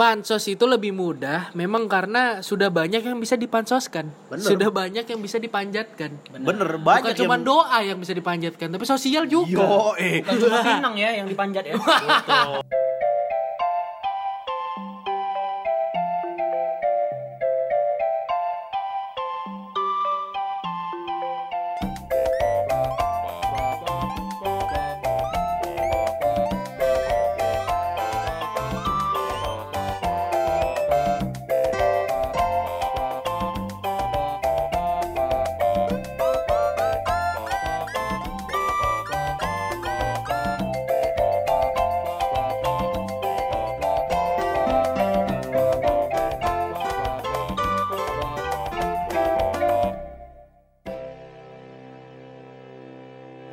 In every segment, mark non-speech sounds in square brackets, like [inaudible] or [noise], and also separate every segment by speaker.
Speaker 1: Pansos itu lebih mudah memang karena sudah banyak yang bisa dipansoskan.
Speaker 2: Bener.
Speaker 1: Sudah banyak yang bisa dipanjatkan.
Speaker 2: Bener,
Speaker 1: Bukan
Speaker 2: banyak
Speaker 1: cuma
Speaker 2: yang-
Speaker 1: doa yang bisa dipanjatkan, tapi sosial juga.
Speaker 2: Yo, eh.
Speaker 3: Bukan cuma pinang ya yang dipanjat ya.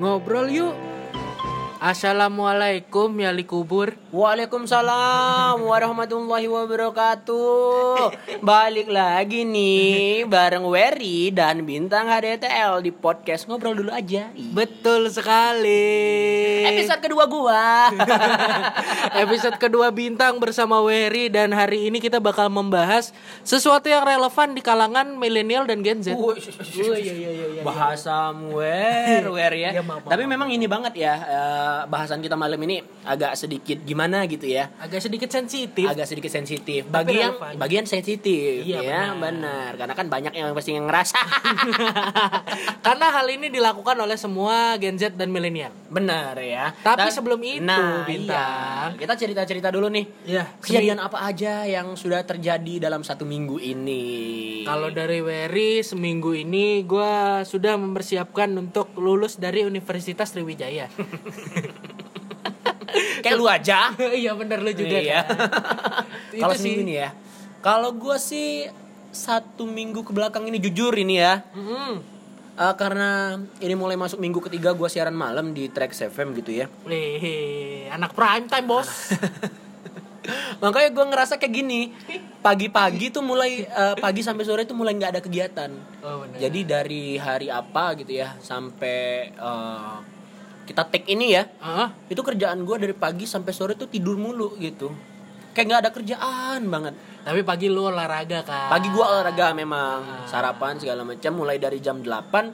Speaker 1: Ngobrol yuk. Assalamualaikum ya li kubur.
Speaker 3: [laughs] Waalaikumsalam warahmatullahi wabarakatuh. Balik lagi nih bareng Wery dan Bintang HDTL di podcast ngobrol dulu aja.
Speaker 1: Betul
Speaker 2: [laughs]
Speaker 1: sekali.
Speaker 3: Episode kedua [laughs] gua.
Speaker 1: Episode kedua bintang bersama Wery dan hari ini kita bakal membahas sesuatu yang relevan di kalangan milenial dan Gen
Speaker 2: Uh.
Speaker 1: Z.
Speaker 3: iya, Bahasamu wer wer ya. Tapi memang ini banget ya eh, bahasan kita malam ini agak sedikit gimana gitu ya.
Speaker 1: Agak sedikit sensitif.
Speaker 3: agak sedikit sensitif bagi yang
Speaker 1: relevan.
Speaker 3: bagian sensitif
Speaker 1: Iya,
Speaker 3: ya benar. karena kan banyak yang pasti yang ngerasa
Speaker 1: Karena hal ini dilakukan oleh semua Gen Z dan milenial.
Speaker 3: benar ya
Speaker 1: Tapi
Speaker 3: Dan-
Speaker 1: sebelum itu,
Speaker 3: nah,
Speaker 1: Bintang.
Speaker 3: iya. kita cerita cerita dulu nih
Speaker 1: Iya.
Speaker 3: kejadian apa aja yang sudah terjadi dalam satu minggu ini
Speaker 1: Kalau dari Wery seminggu ini gue sudah mempersiapkan untuk lulus dari Universitas Sriwijaya.
Speaker 3: kayak lu aja
Speaker 1: [laughs] iya bener lu juga [laughs] ya.
Speaker 3: Iya.
Speaker 1: Itu
Speaker 3: Kalau
Speaker 1: sih.
Speaker 3: seminggu ini ya. Kalau gue sih satu minggu ke belakang ini jujur ini ya. Eh, karena ini mulai masuk minggu ketiga gue siaran malam di Trax FM gitu ya.
Speaker 1: anak prime time bos.
Speaker 3: [laughs] Makanya gue ngerasa kayak gini. Pagi-pagi tuh mulai eh, pagi sampai sore tuh mulai nggak ada kegiatan.
Speaker 1: [laughs] Oh, bener.
Speaker 3: Jadi dari hari apa gitu ya sampai eh, kita take ini ya.
Speaker 1: Heeh.
Speaker 3: Itu kerjaan gue dari pagi sampai sore tuh tidur mulu gitu. Kayak nggak ada kerjaan banget.
Speaker 1: Tapi pagi lu olahraga kan.
Speaker 3: Pagi gua olahraga memang, sarapan segala macam mulai dari jam 8 eh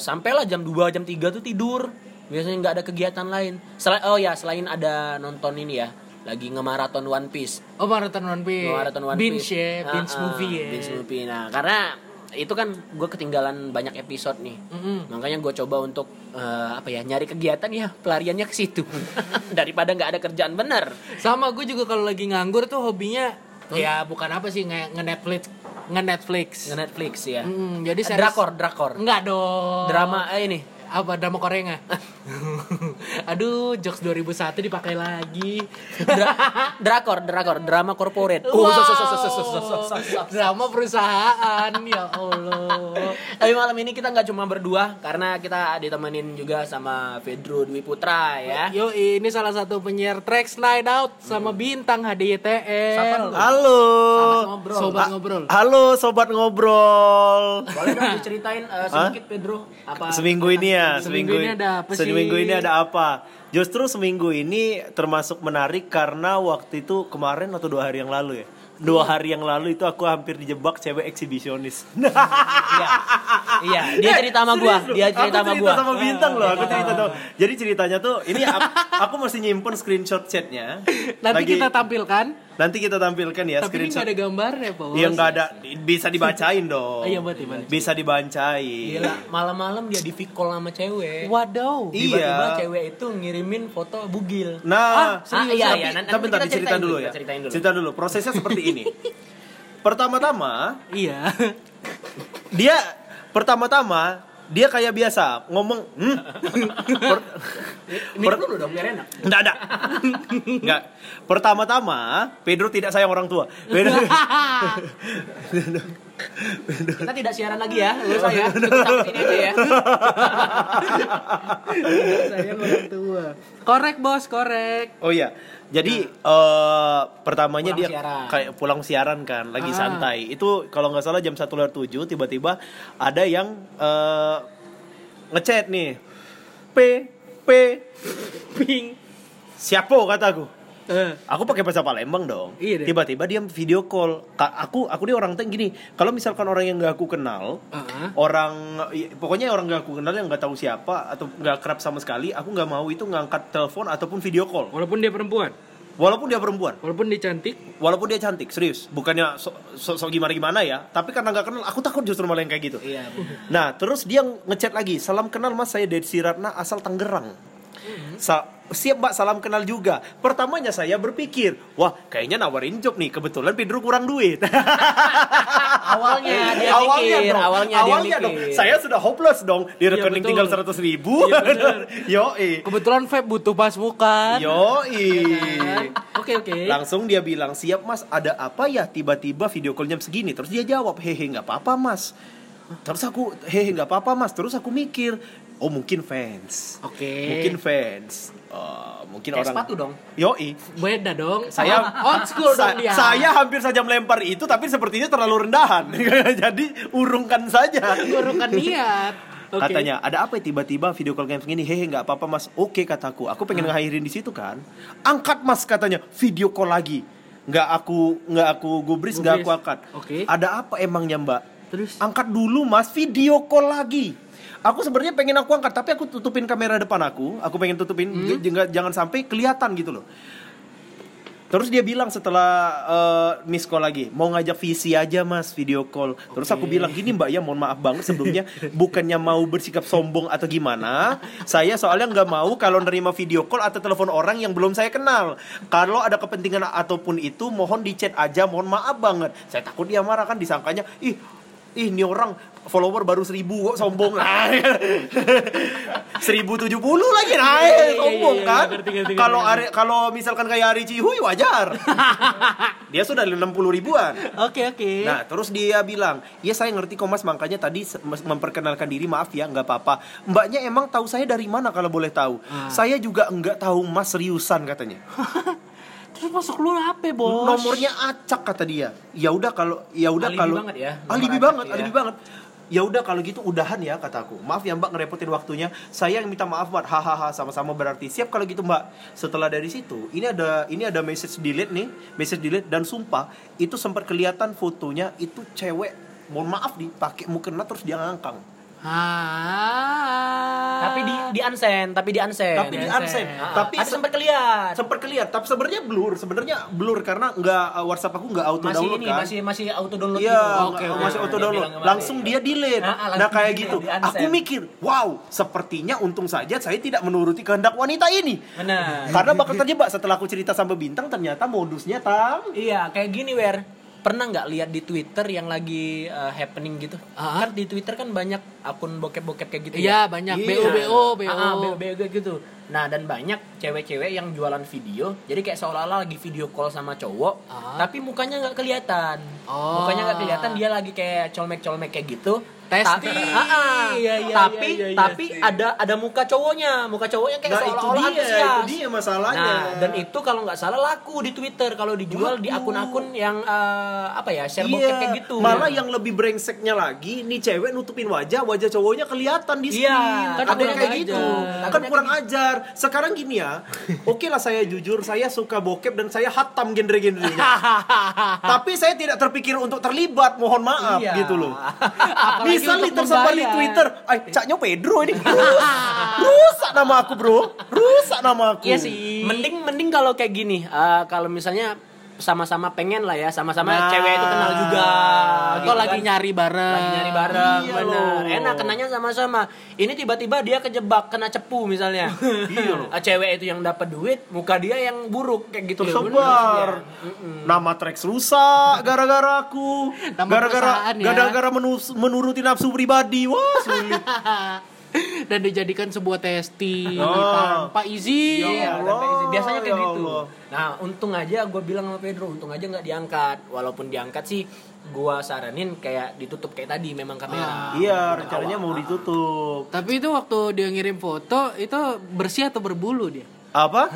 Speaker 3: sampailah jam 2 jam 3 tuh tidur. Biasanya nggak ada kegiatan lain. Selain oh ya, selain ada nonton ini ya, lagi ngemaraton One Piece.
Speaker 1: Oh maraton One Piece.
Speaker 3: Ngemaraton One
Speaker 1: binge
Speaker 3: Piece.
Speaker 1: ya,
Speaker 3: Ah,
Speaker 1: binge
Speaker 3: ah,
Speaker 1: movie ya.
Speaker 3: binge movie. Nah, karena itu kan gue ketinggalan banyak episode nih.
Speaker 1: Mm-mm.
Speaker 3: Makanya gue coba untuk eh, apa ya, nyari kegiatan ya, pelariannya ke situ. [laughs] Daripada nggak ada kerjaan bener.
Speaker 1: Sama gue juga kalau lagi nganggur tuh hobinya ya bukan apa sih nge nge Netflix, nge Netflix.
Speaker 3: Nge Netflix ya.
Speaker 1: Hmm, jadi series- Oh.
Speaker 3: Drakor, drakor.
Speaker 1: Enggak dong.
Speaker 3: Drama eh, ini [laughs]
Speaker 1: apa drama Korea? [laughs] Aduh, jokes 2001 dipakai lagi.
Speaker 3: [laughs] Dra- drakor, drakor, drama corporate.
Speaker 1: Wow.
Speaker 3: so, so, so, so, so, so, so, so, so.
Speaker 1: Drama perusahaan, ya Allah.
Speaker 3: [laughs] Tapi malam ini kita nggak cuma berdua karena kita ditemenin juga sama Pedro Dwi Putra ya.
Speaker 1: Yo, ini salah satu penyiar Trax Night Out sama bintang HDTL.
Speaker 2: Halo.
Speaker 1: E. ngobrol. Sobat
Speaker 2: Ah,
Speaker 1: ngobrol.
Speaker 2: Halo sobat ngobrol.
Speaker 3: Boleh dong diceritain eh, sedikit Pedro apa
Speaker 2: Seminggu ini ya,
Speaker 1: Seminggu
Speaker 2: seminggu,
Speaker 1: ini ada apa sih?
Speaker 2: Seminggu ini ada apa? Justru seminggu ini termasuk menarik karena waktu itu kemarin atau dua hari yang lalu ya. Dua hari yang lalu itu aku hampir dijebak cewek
Speaker 1: [laughs]
Speaker 2: eksibisionis.
Speaker 3: Iya. Iya, dia cerita sama gua, dia cerita
Speaker 2: aku
Speaker 3: sama
Speaker 2: cerita
Speaker 3: gua.
Speaker 2: sama bintang loh,
Speaker 1: Iya.
Speaker 2: aku cerita sama. Jadi ceritanya tuh ini aku, aku masih nyimpen screenshot chatnya.
Speaker 1: Nanti
Speaker 2: Lagi-
Speaker 1: kita tampilkan.
Speaker 2: nanti kita tampilkan ya
Speaker 1: Tapi ini
Speaker 2: screenshot.
Speaker 1: gak ada gambarnya, Pak.
Speaker 2: Iya nggak ada bisa dibacain dong.
Speaker 1: Iya, berarti, berarti.
Speaker 2: Bisa dibacain.
Speaker 3: Gila, malam-malam dia divikol sama cewek.
Speaker 1: Waduh.
Speaker 2: Iya.
Speaker 3: Tiba-tiba cewek itu ngirimin foto bugil.
Speaker 2: Nah,
Speaker 3: Ah, iya, iya. Nanti
Speaker 2: tapi bentar
Speaker 3: kita
Speaker 2: diceritain
Speaker 3: ceritain
Speaker 2: dulu
Speaker 3: dulu,
Speaker 2: ya.
Speaker 3: kita ceritain dulu.
Speaker 2: Cerita dulu. Prosesnya seperti ini. pertama-tama
Speaker 1: Iya. [laughs]
Speaker 2: dia pertama-tama dia kayak biasa ngomong hmm. Per- per-
Speaker 3: dulu dong, biar enak.
Speaker 2: Nggak ada. [laughs] Nggak. Pertama-tama, Pedro tidak sayang orang tua. Pedro,
Speaker 3: Kita tidak siaran lagi ya, lu saya. Kita ini aja ya.
Speaker 1: Saya orang tua. Korek, Bos, korek.
Speaker 2: oh iya.
Speaker 1: Nah.
Speaker 2: Jadi eh, pertamanya
Speaker 3: Pulang
Speaker 2: dia
Speaker 3: siaran.
Speaker 2: kayak pulang siaran kan,
Speaker 1: Ah.
Speaker 2: lagi santai. Itu kalau nggak salah jam 1 lewat 7 tiba-tiba ada yang eh, ngechat nih. P P
Speaker 1: Ping.
Speaker 2: siapa kataku.
Speaker 3: Eh.
Speaker 2: Aku pakai bahasa Palembang dong.
Speaker 1: Iya deh.
Speaker 2: Tiba-tiba dia video call. Ka- aku aku dia orang teng gini. Kalau misalkan orang yang nggak aku kenal,
Speaker 1: Ah.
Speaker 2: orang i- pokoknya orang nggak aku kenal yang nggak tahu siapa atau nggak kerap sama sekali, aku nggak mau itu ngangkat telepon ataupun video call.
Speaker 1: Walaupun dia perempuan,
Speaker 2: Walaupun dia perempuan,
Speaker 1: walaupun dia cantik,
Speaker 2: walaupun dia cantik, serius. Bukannya sok so, gimana gimana ya, tapi karena nggak kenal, aku takut justru malah yang kayak gitu.
Speaker 3: Iya.
Speaker 2: Nah, terus dia ngechat lagi, "Salam kenal Mas, saya Desi Ratna asal Tangerang."
Speaker 3: Mm-hmm.
Speaker 2: Sa- siap Mbak, salam kenal juga. Pertamanya saya berpikir, "Wah, kayaknya nawarin job nih, kebetulan Pedro kurang duit."
Speaker 3: Awalnya Iya,
Speaker 2: [laughs]
Speaker 3: dia
Speaker 2: awalnya
Speaker 3: mikir,
Speaker 2: dong,
Speaker 3: awalnya, dia
Speaker 2: dong.
Speaker 3: mikir.
Speaker 2: Saya sudah hopeless dong, di
Speaker 1: Iya,
Speaker 2: rekening
Speaker 1: betul.
Speaker 2: tinggal 100 ribu.
Speaker 1: Iya, bener.
Speaker 2: [laughs]
Speaker 3: Iya,
Speaker 2: Yoi.
Speaker 3: [laughs]
Speaker 1: kebetulan vape butuh pas muka.
Speaker 2: Yoi.
Speaker 3: Iya, kan?
Speaker 1: Oke oke.
Speaker 2: Langsung dia bilang siap mas, ada apa ya? Tiba-tiba video callnya segini. Terus dia jawab hehe nggak apa-apa mas. Terus aku hehe nggak apa-apa mas. Terus aku mikir oh mungkin fans,
Speaker 1: Oke.
Speaker 2: mungkin fans, Eh, mungkin
Speaker 3: Kayak
Speaker 2: orang.
Speaker 3: sepatu dong.
Speaker 2: Yoi.
Speaker 1: Beda dong. [laughs]
Speaker 2: Saya
Speaker 1: on Oh, school
Speaker 2: sa-
Speaker 1: dong dia.
Speaker 2: Saya hampir saja melempar itu, tapi sepertinya terlalu rendahan. [laughs] Jadi urungkan saja.
Speaker 1: urungkan niat. Oke.
Speaker 2: Katanya ada apa ya tiba-tiba video call game gini hehe nggak apa-apa mas oke kataku aku pengen
Speaker 1: Hmm.
Speaker 2: ngakhirin di situ kan angkat mas katanya video call lagi nggak aku nggak aku gubris nggak aku
Speaker 1: Gubris.
Speaker 2: angkat
Speaker 1: Oke.
Speaker 2: ada apa emangnya mbak
Speaker 1: Terus?
Speaker 2: angkat dulu mas video call lagi aku sebenarnya pengen aku angkat tapi aku tutupin kamera depan aku aku pengen tutupin
Speaker 1: Hmm?
Speaker 2: j- jangan- jangan sampai kelihatan gitu loh Terus dia bilang setelah eh, miss call lagi, mau ngajak visi aja mas video call. Terus aku bilang gini mbak ya, mohon maaf banget sebelumnya bukannya mau bersikap sombong atau gimana. Saya soalnya nggak mau kalau nerima video call atau telepon orang yang belum saya kenal. Kalau ada kepentingan ataupun itu, mohon di chat aja. Mohon maaf banget. Saya takut dia marah kan disangkanya, ih ih ini orang follower baru seribu kok sombong [laughs] lah seribu tujuh puluh lagi
Speaker 1: Iya,
Speaker 2: nah
Speaker 1: iya, iya,
Speaker 2: sombong
Speaker 1: iya, iya,
Speaker 2: kan
Speaker 1: ngerti, ngerti,
Speaker 2: kalau
Speaker 1: ngerti.
Speaker 2: are- kalau misalkan kayak Ari Cihuy wajar. dia sudah 60 ribuan.
Speaker 1: Oke oke.
Speaker 2: Nah, terus dia bilang, "Ya saya ngerti kok Mas, makanya tadi se- mes- memperkenalkan diri, maaf ya, nggak apa-apa. Mbaknya emang tahu saya dari mana kalau boleh tahu?" Saya juga nggak tahu Mas seriusan katanya.
Speaker 1: Terus masuk lu apa, Bos?
Speaker 2: Nomornya acak kata dia. Ya udah kalau ya udah
Speaker 3: Alibi
Speaker 2: kalau
Speaker 3: banget ya, nomor
Speaker 2: Alibi
Speaker 3: acak
Speaker 2: banget,
Speaker 3: ya.
Speaker 2: alibi banget. Ya udah kalau gitu udahan ya kataku. Maaf ya Mbak ngerepotin waktunya. Saya yang minta maaf Mbak. Hahaha sama-sama berarti siap kalau gitu Mbak. Setelah dari situ ini ada ini ada message delete nih, message delete dan sumpah itu sempat kelihatan fotonya itu cewek mohon maaf nih pakai mukena terus dia ngangkang.
Speaker 1: Ah.
Speaker 3: Tapi di di unsend, tapi di unsend.
Speaker 2: Tapi di absen.
Speaker 1: Ah,
Speaker 2: Tapi
Speaker 3: tapi
Speaker 2: se-
Speaker 3: sempat kelihatan.
Speaker 2: sempat kelihatan tapi sebenarnya blur sebenarnya blur karena nggak WhatsApp aku nggak auto
Speaker 3: Masih
Speaker 2: download
Speaker 3: ini,
Speaker 2: kan
Speaker 3: masih masih auto download
Speaker 2: Iya,
Speaker 3: gitu.
Speaker 1: oke,
Speaker 2: nggak-
Speaker 1: oke,
Speaker 2: masih
Speaker 1: oke.
Speaker 2: auto
Speaker 3: Dia
Speaker 2: download.
Speaker 3: bilang kemarin.
Speaker 2: Langsung dia delete.
Speaker 3: Ah, ah,
Speaker 2: Nah,
Speaker 3: langsung
Speaker 2: kayak
Speaker 3: di-delete,
Speaker 2: gitu.
Speaker 3: di-unsend.
Speaker 2: Aku mikir, wow, sepertinya untung saja saya tidak menuruti kehendak wanita ini.
Speaker 3: Benar.
Speaker 2: Karena bakal terjebak setelah aku cerita sampai bintang ternyata modusnya tam.
Speaker 3: Iya, kayak gini Wer. Pernah nggak lihat di Twitter yang lagi uh, happening gitu?
Speaker 1: Ah.
Speaker 3: Kan di Twitter kan banyak akun bokep-bokep kayak gitu
Speaker 1: Iya, banyak
Speaker 2: Iya.
Speaker 1: BO BO BO.
Speaker 3: Ah, ah, gitu. Nah, dan banyak cewek-cewek yang jualan video. Jadi kayak seolah-olah lagi video call sama cowok,
Speaker 1: Ah.
Speaker 3: tapi mukanya nggak kelihatan.
Speaker 1: Oh.
Speaker 3: Mukanya nggak kelihatan, dia lagi kayak colmek-colmek kayak gitu.
Speaker 1: Testing.
Speaker 3: Ta- Ah, ah.
Speaker 1: Iya, iya,
Speaker 3: tapi
Speaker 1: iya, iya,
Speaker 3: tapi ada ada muka cowoknya, muka cowoknya
Speaker 2: Nah,
Speaker 3: kayak
Speaker 2: itu
Speaker 3: seolah-olah
Speaker 2: dia,
Speaker 3: antusias.
Speaker 2: itu dia masalahnya.
Speaker 3: Nah, dan itu kalau nggak salah laku di Twitter kalau dijual di
Speaker 2: Waduh.
Speaker 3: akun-akun yang eh, apa ya, share bokep kayak
Speaker 2: Iya,
Speaker 3: gitu.
Speaker 2: malah yang lebih brengseknya lagi, nih cewek nutupin wajah, wajah cowoknya kelihatan di screen.
Speaker 3: Iya,
Speaker 1: kan
Speaker 2: ada yang
Speaker 1: kurang
Speaker 2: kayak
Speaker 1: ajar.
Speaker 2: gitu. Kan
Speaker 3: Takutnya
Speaker 2: kurang
Speaker 1: gitu.
Speaker 2: ajar. Sekarang gini
Speaker 1: [laughs]
Speaker 2: ya, oke lah saya jujur, saya suka bokep dan saya
Speaker 1: [laughs]
Speaker 2: hatam genre-genrenya. Tapi saya tidak terpikir untuk terlibat, mohon maaf
Speaker 3: Iya.
Speaker 2: gitu
Speaker 3: [laughs]
Speaker 2: loh.
Speaker 1: Apalagi
Speaker 2: Bisa nih
Speaker 1: untuk
Speaker 2: tersebar di
Speaker 1: membayar.
Speaker 2: Twitter, ay, caknya Pedro ini. Rus- Rusak nama aku, Bro. Rusak nama aku.
Speaker 1: Iya sih.
Speaker 3: Mending mending kalau kayak gini, eh, kalau misalnya sama-sama pengen lah ya, sama-sama
Speaker 2: Nah.
Speaker 3: cewek itu kenal juga.
Speaker 1: Atau
Speaker 3: gitu
Speaker 1: lagi
Speaker 3: kan.
Speaker 1: nyari bareng.
Speaker 3: lagi nyari bareng,
Speaker 2: Iya
Speaker 3: bener.
Speaker 2: loh.
Speaker 3: Enak kenanya sama-sama. Ini tiba-tiba dia kejebak kena cepu misalnya.
Speaker 2: Iya loh.
Speaker 3: Eh, cewek itu yang dapat duit, muka dia yang buruk kayak
Speaker 2: Ya
Speaker 3: gitu.
Speaker 2: tersebar Iya, [laughs] nama tracks rusak gara-gara aku
Speaker 1: Nama
Speaker 2: gara-gara
Speaker 1: perusahaan ya.
Speaker 2: gara-gara menus- menuruti nafsu pribadi wah sulit
Speaker 1: [laughs] Dan dijadikan sebuah testing gitu,
Speaker 2: Oh.
Speaker 1: tanpa izin.
Speaker 2: Ya
Speaker 3: Iya,
Speaker 2: Allah,
Speaker 3: tanpa izin. biasanya kayak
Speaker 2: ya
Speaker 3: gitu.
Speaker 2: Allah.
Speaker 3: Nah, untung aja gue bilang sama Pedro, untung aja nggak diangkat. Walaupun diangkat sih, gue saranin kayak ditutup kayak tadi memang
Speaker 1: Ah.
Speaker 3: kamera.
Speaker 2: [laughs] iya rencananya mau ditutup
Speaker 1: Tapi itu waktu dia ngirim foto itu bersih atau berbulu dia?
Speaker 2: Apa?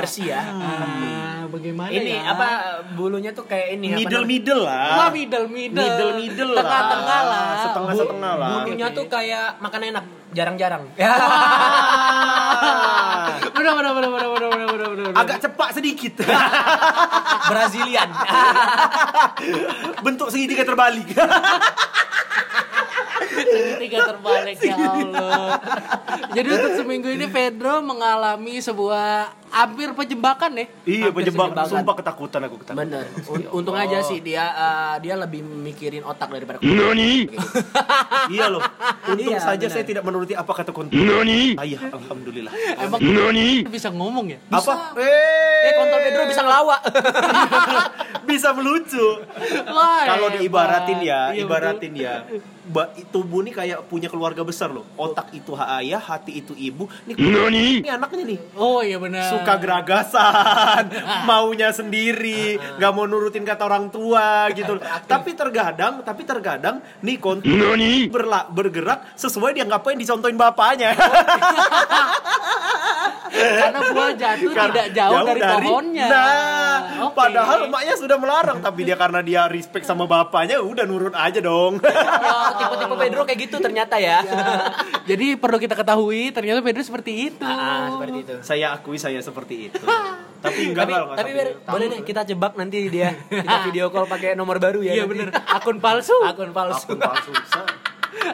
Speaker 3: bersih ya.
Speaker 1: Ah, bagaimana
Speaker 3: Ini
Speaker 1: ya?
Speaker 3: apa bulunya tuh kayak ini apa
Speaker 2: Middle
Speaker 3: namanya?
Speaker 2: middle
Speaker 1: Wah,
Speaker 2: lah.
Speaker 1: middle middle.
Speaker 2: Middle middle Ah. lah.
Speaker 1: Tengah-tengah lah.
Speaker 2: Setengah setengah lah.
Speaker 3: Bulunya
Speaker 1: Oke.
Speaker 3: tuh kayak makan enak,
Speaker 1: [laughs]
Speaker 3: jarang-jarang.
Speaker 2: Ah,
Speaker 1: Udah, udah, udah, udah, udah, udah, udah, udah, udah.
Speaker 2: [laughs] Agak cepak sedikit. [laughs]
Speaker 1: [laughs]
Speaker 3: Brazilian.
Speaker 2: Bentuk segitiga terbalik.
Speaker 1: tiga terbalik ya Allah. Jadi untuk seminggu ini Pedro mengalami sebuah hampir penjebakan ya.
Speaker 2: [laughs] iya,
Speaker 3: Hampir
Speaker 2: penjebak.
Speaker 3: sejebakan.
Speaker 2: Sumpah ketakutan aku ketakutan.
Speaker 3: Bener. Un- untung aja sih dia eh, dia lebih mikirin otak daripada
Speaker 2: iya [laughs] loh. Untung
Speaker 3: Iya,
Speaker 2: saja
Speaker 3: benar.
Speaker 2: saya tidak menuruti apa kata kontol. Nani? Ayah, alhamdulillah.
Speaker 1: Emang bisa ngomong ya?
Speaker 2: Apa? Eh,
Speaker 3: Eh, kontol Pedro bisa ngelawak.
Speaker 2: bisa melucu.
Speaker 1: Wah,
Speaker 2: Kalau
Speaker 1: hebat.
Speaker 2: diibaratin ya,
Speaker 1: Iya,
Speaker 2: ibaratin ya. Ba, tubuh nih kayak punya keluarga besar loh. Otak itu ha- ayah, hati itu ibu. Nih, ini anaknya nih.
Speaker 1: betul. Oh iya benar.
Speaker 2: Suka
Speaker 1: [laughs]
Speaker 2: geragasan, maunya sendiri, nggak mau nurutin kata orang tua gitu. tapi terkadang, tapi terkadang nih konten berla- bergerak sesuai dia ngapain dicontohin bapaknya.
Speaker 1: Oh, karena buah jatuh tidak jauh, dari, pohonnya.
Speaker 2: Nah,
Speaker 1: Oke.
Speaker 2: padahal emaknya sudah melarang, tapi dia karena dia respect sama bapaknya, udah nurut aja dong. [laughs]
Speaker 3: Ya, tipe-tipe Pedro kayak gitu ternyata ya.
Speaker 1: Iya. Jadi perlu kita ketahui ternyata Pedro seperti itu.
Speaker 3: Ah, seperti itu.
Speaker 2: saya akui saya seperti itu. tapi enggak
Speaker 3: Tapi,
Speaker 2: lah. nggak
Speaker 3: tapi
Speaker 2: sampai
Speaker 3: biar-
Speaker 2: tahu.
Speaker 3: boleh deh kita jebak nanti dia kita video call pakai nomor baru ya.
Speaker 1: Iya benar.
Speaker 3: nanti.
Speaker 1: Akun palsu.
Speaker 3: Akun palsu.
Speaker 2: Akun palsu, susah.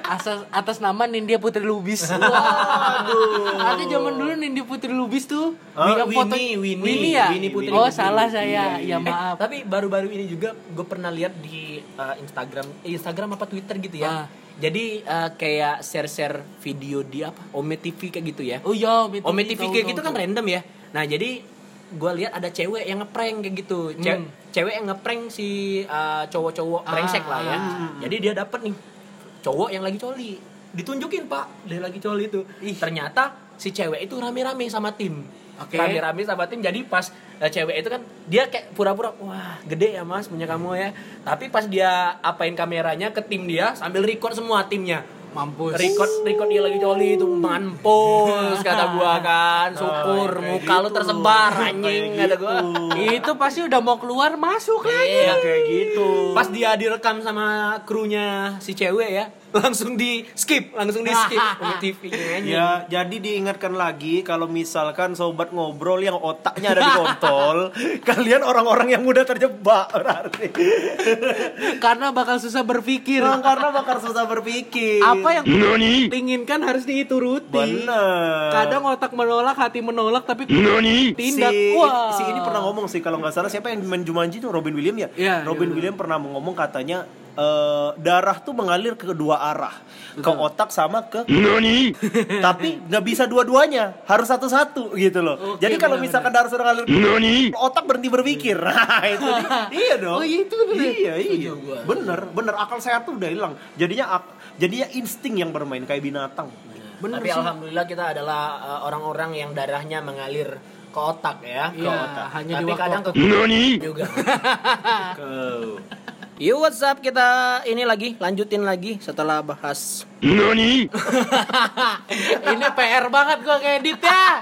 Speaker 1: Asas atas nama Nindya Putri [laughs] Lubis. Ada zaman dulu Nindya Putri Lubis tuh.
Speaker 2: Ah,
Speaker 1: yang foto-
Speaker 3: Winnie, Winnie.
Speaker 1: Oh, Winnie ya?
Speaker 3: Winnie Putri
Speaker 1: oh
Speaker 3: Lubis.
Speaker 1: salah saya, ya
Speaker 3: Eh,
Speaker 1: maaf.
Speaker 3: tapi baru-baru ini juga gue pernah lihat di uh, Instagram, eh, Instagram apa Twitter gitu
Speaker 1: Ah.
Speaker 3: ya. Jadi uh, kayak share-share video di apa? Ome TV kayak gitu ya.
Speaker 1: Oh iya, Ome TV,
Speaker 3: Ome TV
Speaker 1: tahu,
Speaker 3: kayak
Speaker 1: tahu,
Speaker 3: gitu kan
Speaker 1: tahu.
Speaker 3: random ya. Nah, jadi gue lihat ada cewek yang ngeprank kayak gitu. Ce-
Speaker 1: Hmm.
Speaker 3: Cewek yang ngeprank si uh, cowok-cowok
Speaker 1: Ah.
Speaker 3: brengsek lah ya. Jadi dia dapat nih cowok yang lagi coli. Ditunjukin, Pak, dia lagi coli itu. Ternyata si cewek itu rame-rame sama tim.
Speaker 1: Oke.
Speaker 3: Rame-rame sama tim. Jadi pas eh, cewek itu kan dia kayak pura-pura, "Wah, gede ya, Mas, punya kamu ya." Tapi pas dia apain kameranya ke tim dia sambil record semua timnya
Speaker 1: Mampus.
Speaker 3: record record dia lagi coli itu mampus kata gua [laughs] kan syukur
Speaker 2: kayak
Speaker 3: muka lu
Speaker 2: gitu.
Speaker 3: tersebar
Speaker 2: Kayak
Speaker 3: anjing
Speaker 2: gitu.
Speaker 3: kata gua
Speaker 1: Itu pasti udah mau keluar masuk lagi.
Speaker 3: Iya.
Speaker 2: Ya kayak gitu.
Speaker 3: pas dia direkam sama krunya si cewek ya langsung di skip langsung di
Speaker 1: [laughs]
Speaker 3: skip Sama TV-nya anjing.
Speaker 2: Ya, jadi diingatkan lagi kalau misalkan sobat ngobrol yang otaknya ada di kontol, kalian orang-orang yang mudah terjebak berarti.
Speaker 1: Karena bakal susah berpikir.
Speaker 2: Nah, karena bakar susah berpikir.
Speaker 1: Apa
Speaker 3: [laughs]
Speaker 1: yang diinginkan harus diituruti.
Speaker 2: Bener.
Speaker 1: Kadang otak menolak, hati menolak, tapi tindak.
Speaker 2: si,
Speaker 1: Wah.
Speaker 2: si ini pernah ngomong sih kalau nggak salah siapa yang main Jumanji tuh Robin Williams ya.
Speaker 1: Iya,
Speaker 2: Robin
Speaker 1: iya.
Speaker 2: Williams pernah ngomong katanya eh, darah tuh mengalir ke kedua arah, ke otak sama ke tapi nggak bisa dua-duanya, harus satu-satu gitu loh.
Speaker 1: Oke,
Speaker 2: Jadi kalau
Speaker 1: benar-benar.
Speaker 2: misalkan darah sudah ngalir otak berhenti berpikir. [laughs] Nah, itu
Speaker 1: [laughs]
Speaker 2: dia. iya dong.
Speaker 1: Oh, iya, itu bener.
Speaker 2: Iya, iya. Bener, bener akal sehat tuh udah hilang. Jadinya ak- jadinya insting yang bermain kayak binatang.
Speaker 3: tapi alhamdulillah kita adalah uh, orang-orang yang darahnya mengalir ke otak ya
Speaker 1: Iya, hanya di
Speaker 3: tapi
Speaker 1: waktu-
Speaker 3: kadang ke [laughs] juga
Speaker 2: Ke-
Speaker 3: Yo what's up kita ini lagi lanjutin lagi setelah bahas
Speaker 1: ini PR banget gua ngedit ya.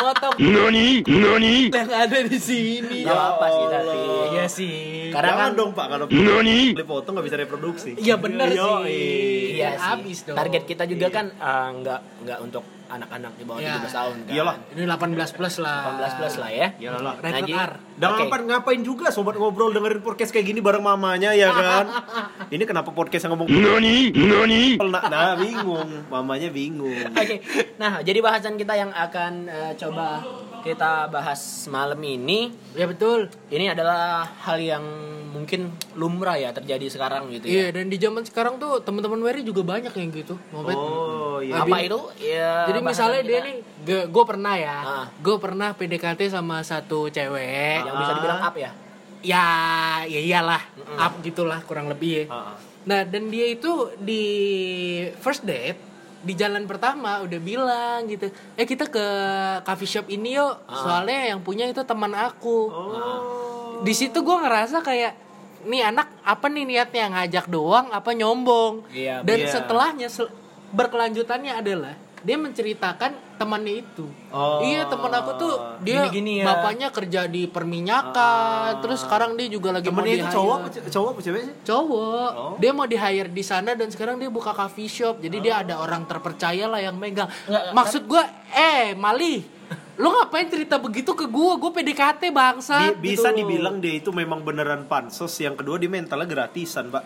Speaker 1: Motong yang ada di sini.
Speaker 3: Gak apa sih tapi
Speaker 1: Iya sih.
Speaker 3: Karena
Speaker 2: Jangan
Speaker 3: kan-
Speaker 2: dong pak kalau dipotong nggak bisa reproduksi.
Speaker 1: Iya bener
Speaker 2: Yoi.
Speaker 1: sih.
Speaker 3: Iya sih.
Speaker 1: Habis dong.
Speaker 3: Target kita juga kan eh, nggak nggak untuk anak-anak di bawah
Speaker 1: Iya.
Speaker 3: 17 tahun kan.
Speaker 2: Iyalah.
Speaker 1: Ini 18 plus lah.
Speaker 3: 18 plus lah ya.
Speaker 2: Iyalah Iya, lah.
Speaker 1: Rated
Speaker 3: Naji.
Speaker 1: R.
Speaker 2: Dan
Speaker 3: Oke.
Speaker 2: ngapain, ngapain juga sobat ngobrol dengerin podcast kayak gini bareng mamanya ya
Speaker 1: [laughs]
Speaker 2: kan? Ini kenapa podcast yang ngomong nah, nah bingung, mamanya bingung.
Speaker 3: [laughs] Oke. Nah, jadi bahasan kita yang akan eh, coba kita bahas malam ini
Speaker 1: Ya betul.
Speaker 3: ini adalah hal yang mungkin lumrah ya terjadi sekarang gitu
Speaker 1: Iya,
Speaker 3: ya.
Speaker 1: dan di zaman sekarang tuh teman-teman Wery juga banyak yang gitu. Moped.
Speaker 2: Oh iya.
Speaker 3: Apa itu? Ya,
Speaker 1: Jadi
Speaker 3: bahasan
Speaker 1: misalnya dia
Speaker 3: kita
Speaker 1: nih, gue pernah ya,
Speaker 3: Ah.
Speaker 1: gue pernah PDKT sama satu cewek.
Speaker 3: yang bisa dibilang up ya.
Speaker 1: Ya, ya iyalah, up gitulah kurang lebih ya.
Speaker 2: Ah, ah.
Speaker 1: Nah, dan dia itu di first date di jalan pertama udah bilang gitu, eh kita ke coffee shop ini yuk, soalnya yang punya itu teman aku.
Speaker 2: Oh.
Speaker 1: Di situ gue ngerasa kayak nih anak apa nih niatnya ngajak doang apa nyombong.
Speaker 3: Iya,
Speaker 1: dan
Speaker 2: iya.
Speaker 1: setelahnya sel- berkelanjutannya adalah dia menceritakan temannya itu.
Speaker 2: Oh.
Speaker 1: Iya, teman aku tuh dia Iya,
Speaker 3: Gini-gini ya.
Speaker 1: bapaknya kerja di perminyakan, terus sekarang dia juga lagi mau
Speaker 2: Ah. Temennya itu
Speaker 1: di-hire.
Speaker 2: cowok, apa ce- cowok apa cewek sih?
Speaker 1: cowok
Speaker 2: Oh.
Speaker 1: dia mau di hire di sana dan sekarang dia buka coffee shop jadi
Speaker 2: Oh.
Speaker 1: dia ada orang terpercaya lah yang megang maksud gua eh Mali lu ngapain cerita begitu ke gua gua PDKT bangsa
Speaker 2: Bi- bisa
Speaker 1: Gitu.
Speaker 2: dibilang dia itu memang beneran pansos yang kedua dia mentalnya gratisan pak